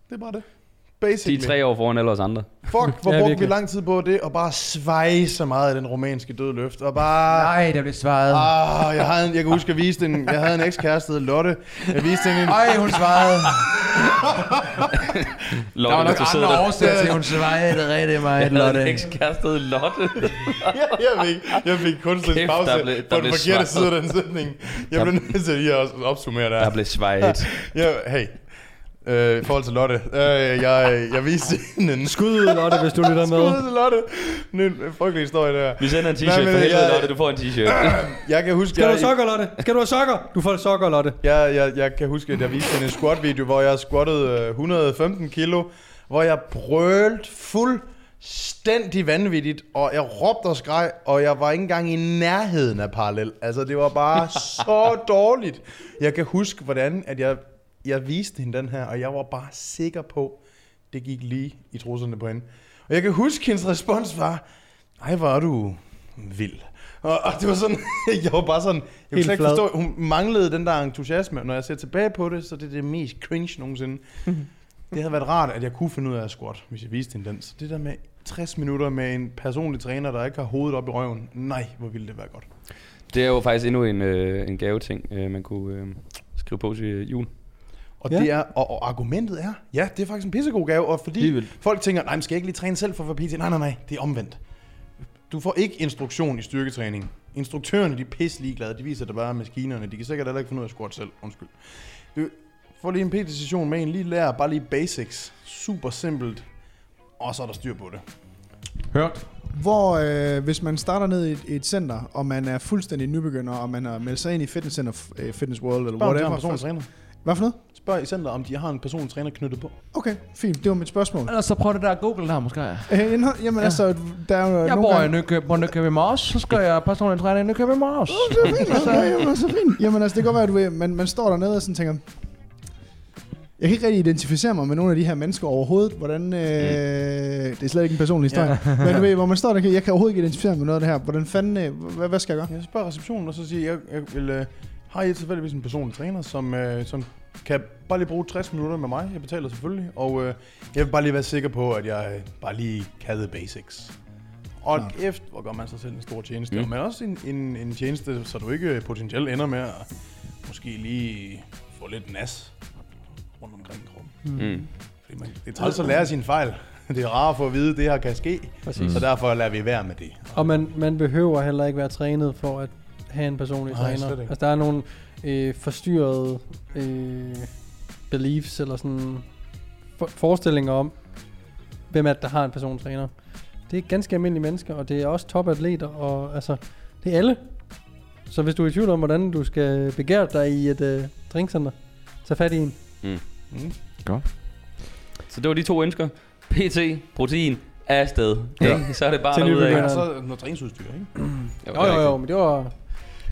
S4: Det er bare det.
S2: De
S4: Basically.
S2: er tre år foran alle os andre.
S4: Fuck, hvor
S1: Ja,
S4: ja, brugte vi
S1: virkelig.
S4: lang tid på det, og bare sveje så meget af den romanske død løft, og bare...
S5: Nej, der blev svaret.
S4: Ah, jeg, havde en, jeg kan huske, jeg viste en, jeg havde en ekskæreste, Lotte. Jeg viste hende en...
S5: Ej, hun svarede.
S2: Lotte, der var nok sidder der.
S5: årsager til, at hun svarede. Det er rigtig meget,
S2: Jeg havde en ekskæreste Lotte.
S4: jeg fik, jeg fik kunstnerisk
S2: Kæft,
S4: pause
S2: der blev- der
S4: på den
S2: blev
S4: forkerte
S2: svaret.
S4: side af den sætning. Jeg blev nødt til lige at opsummere det her.
S2: Der blev svejet.
S4: Jeg, hey, øh, i forhold til Lotte. Øh, jeg, jeg viste hende en...
S1: Skud ud, Lotte, hvis du lytter med.
S4: Skud til Lotte. Det er en frygtelig historie, der.
S2: Vi sender en t-shirt
S4: men
S2: for helvede,
S4: jeg-
S2: Lotte. Du får en t-shirt.
S4: Jeg kan huske...
S1: Skal du
S4: jeg,
S1: have sokker, Lotte? Skal du have sokker? Du får sokker, Lotte.
S4: Jeg, jeg, jeg kan huske, at jeg viste hende en squat-video, hvor jeg squattede øh, 115 kilo, hvor jeg brølte fuldstændig vanvittigt, og jeg råbte og skreg, og jeg var ikke engang i nærheden af parallel. Altså, det var bare så dårligt. Jeg kan huske, hvordan at jeg, jeg viste hende den her, og jeg var bare sikker på, det gik lige i trusserne på hende. Og jeg kan huske, hendes respons var, ej, hvor er du vild. Og, og det var sådan, jeg var bare sådan, jeg kunne
S1: Helt
S4: slet ikke
S1: flad.
S4: forstå, hun manglede den der entusiasme. Når jeg ser tilbage på det, så det er det mest cringe nogensinde. det havde været rart, at jeg kunne finde ud af at squat, hvis jeg viste hende den. Så det der med 60 minutter med en personlig træner, der ikke har hovedet op i røven, nej, hvor ville det være godt.
S2: Det er jo faktisk endnu en, øh, en gaveting, øh, man kunne øh, skrive på til øh, jul.
S4: Og,
S1: Ja.
S4: ja. det er, og, og argumentet er, ja, det er faktisk en pissegod gave, og
S3: Helt
S4: fordi
S3: vildt.
S4: folk tænker, nej, men skal jeg ikke lige træne selv for at få PT? Nej, nej, nej, det er omvendt. Du får ikke instruktion i styrketræning. Instruktørerne, de er pisse ligeglade, de viser dig bare maskinerne, de kan sikkert heller ikke finde ud af at squat selv, undskyld. Du får lige en PT-session med en, lige lærer bare lige basics, super simpelt, og så er der styr på det.
S5: Hørt.
S6: Hvor øh, hvis man starter ned i et, i et center, og man er fuldstændig nybegynder, og man har meldt sig ind i Fitness Center, f- øh, Fitness World, eller
S4: Spørg om de har en
S6: whatever.
S4: personlig træner.
S6: Hvad for noget?
S4: Spørg i center, om de har en personlig træner knyttet på.
S6: Okay, fint. Det var mit spørgsmål.
S5: Ellers så altså, prøv det der Google der, måske.
S6: Øh, indhold- jamen ja. altså, der er jo
S5: Jeg
S6: nogle
S5: bor i
S6: gange...
S5: Nykøb, på Nykøbing Mors, så skal jeg personligt træne i Nykøbing Mors.
S6: Det er fint, altså. Jamen, altså, fint. Jamen altså, det kan godt være, at du ved, man, man står dernede og sådan tænker, jeg kan ikke rigtig identificere mig med nogle af de her mennesker overhovedet. Hvordan, øh, mm. Det er slet ikke en personlig historie. men du ved, hvor man står der, kan- jeg kan overhovedet ikke identificere mig med noget af det her. Hvordan fanden, øh, hvad, hvad skal jeg gøre?
S4: Jeg spørger receptionen, og så siger jeg, jeg vil, øh, har I tilfældigvis en personlig træner, som, øh, som kan bare lige bruge 60 minutter med mig? Jeg betaler selvfølgelig, og øh, jeg vil bare lige være sikker på, at jeg øh, bare lige kan the basics. Og efter, hvor gør man sig selv en stor tjeneste. Mm. Men også en, en, en tjeneste, så du ikke øh, potentielt ender med at måske lige få lidt nas rundt omkring kroppen.
S2: Mm.
S4: Fordi man, det er træls at lære sine fejl. Det er rart at få at vide, at det her kan ske.
S1: Præcis.
S4: Så derfor lader vi være med det.
S1: Og man, man behøver heller ikke være trænet for at have en personlig
S4: Nej,
S1: træner.
S4: slet ikke.
S1: Altså, der er nogle øh, forstyrrede øh, beliefs eller sådan for, forestillinger om, hvem er det, der har en personlig træner. Det er ganske almindelige mennesker, og det er også topatleter, og altså, det er alle. Så hvis du er i tvivl om, hvordan du skal begære dig i et øh, drinkcenter, tag fat i en.
S4: Mm.
S2: Så det var de to ønsker. PT, protein, afsted. Ja. Så er det bare
S1: Til
S2: derude
S1: nybegynder.
S2: af.
S4: Og så noget træningsudstyr, ikke?
S1: Jo, jo, jo, men det var...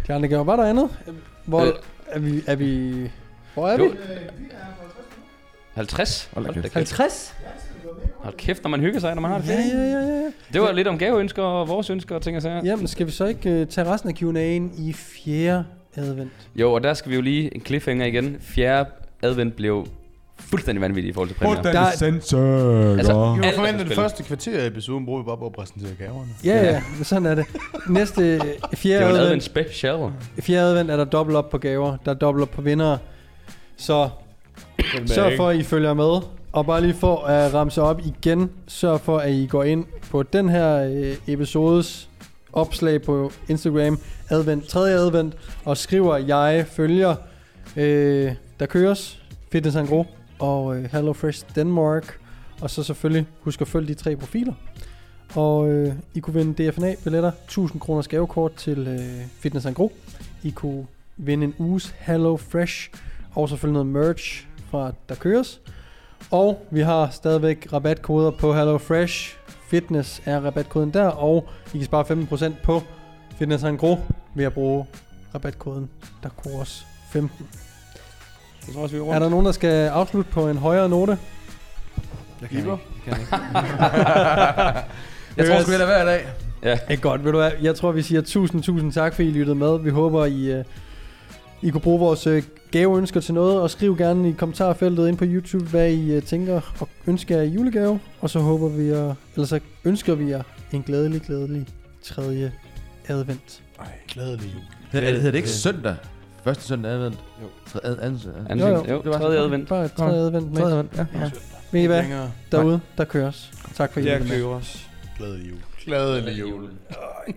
S1: De andre gav var der andet. Hvor
S2: Øh.
S1: er vi... Er vi hvor er vi?
S2: Jo. 50?
S7: Hold da
S2: Hold da
S7: kæft.
S2: kæft.
S1: 50?
S2: Hold kæft, når man hygger sig, når man har det
S1: Ja,
S2: fedt. ikke?
S1: ja, ja, ja.
S2: Det var lidt om gaveønsker og vores ønsker og ting og sager.
S1: Jamen, skal vi så ikke øh, tage resten af Q&A'en i fjerde advent?
S2: Jo, og der skal vi jo lige en cliffhanger igen. Fjerde advent blev fuldstændig vanvittig i forhold til præmier.
S1: Der,
S7: Sensor.
S2: Altså,
S4: Vi
S2: alt
S4: må
S2: er
S4: forvente
S2: på
S4: den
S2: spil.
S4: første kvarter af episoden, bruger vi bare på at præsentere gaverne.
S1: ja, ja, men sådan er det. Næste øh,
S2: Det
S1: fjerde
S2: var en advent
S1: advent,
S2: special.
S1: fjerde advent er der dobbelt op på gaver. Der er dobbelt op på vinder. Så sørg for, at I følger med. Og bare lige for at ramse op igen, sørg for, at I går ind på den her øh, episodes opslag på Instagram, advent, 3. advent, og skriver, jeg følger, øh, der køres, Fitness en Gros og øh, Hello Fresh Denmark. Og så selvfølgelig husk at følge de tre profiler. Og øh, I kunne vinde DFNA-billetter, 1000 kroners gavekort til øh, Fitness en Gros. I kunne vinde en uges Hello Fresh og selvfølgelig noget merch fra Der Køres. Og vi har stadigvæk rabatkoder på HelloFresh. Fitness er rabatkoden der, og I kan spare 15% på Fitness en Gro ved at bruge rabatkoden Der Køres 15.
S2: Jeg tror også, vi er
S1: Er der nogen, der skal afslutte på en højere note?
S3: Jeg kan ikke.
S2: Jeg tror sgu,
S1: det
S2: hver dag.
S1: er godt. Ved du hvad? Jeg tror, vi siger tusind, tusind tak, fordi I lyttede med. Vi håber, I, øh, I kunne bruge vores øh, gaveønsker til noget, og skriv gerne i kommentarfeltet ind på YouTube, hvad I øh, tænker og ønsker jer i julegave. Og så håber vi jer, eller så ønsker vi jer en glædelig, glædelig tredje advent.
S4: Ej, glædelig jul.
S7: Hedder det, hedder det ikke søndag? Første søndag advent?
S3: Jo.
S7: Tredje ad, anden søndag.
S2: Anden jo,
S1: Jo,
S2: jo.
S1: jo.
S2: jo tredje advent.
S1: Bare et tredje advent med.
S7: advent, ja.
S1: Ja. Ved I hvad?
S4: Længere.
S1: Derude, der køres. Tak for at I
S3: Jeg
S1: lyttede med.
S3: køber os.
S4: Glædelig jul. Glædelig jul.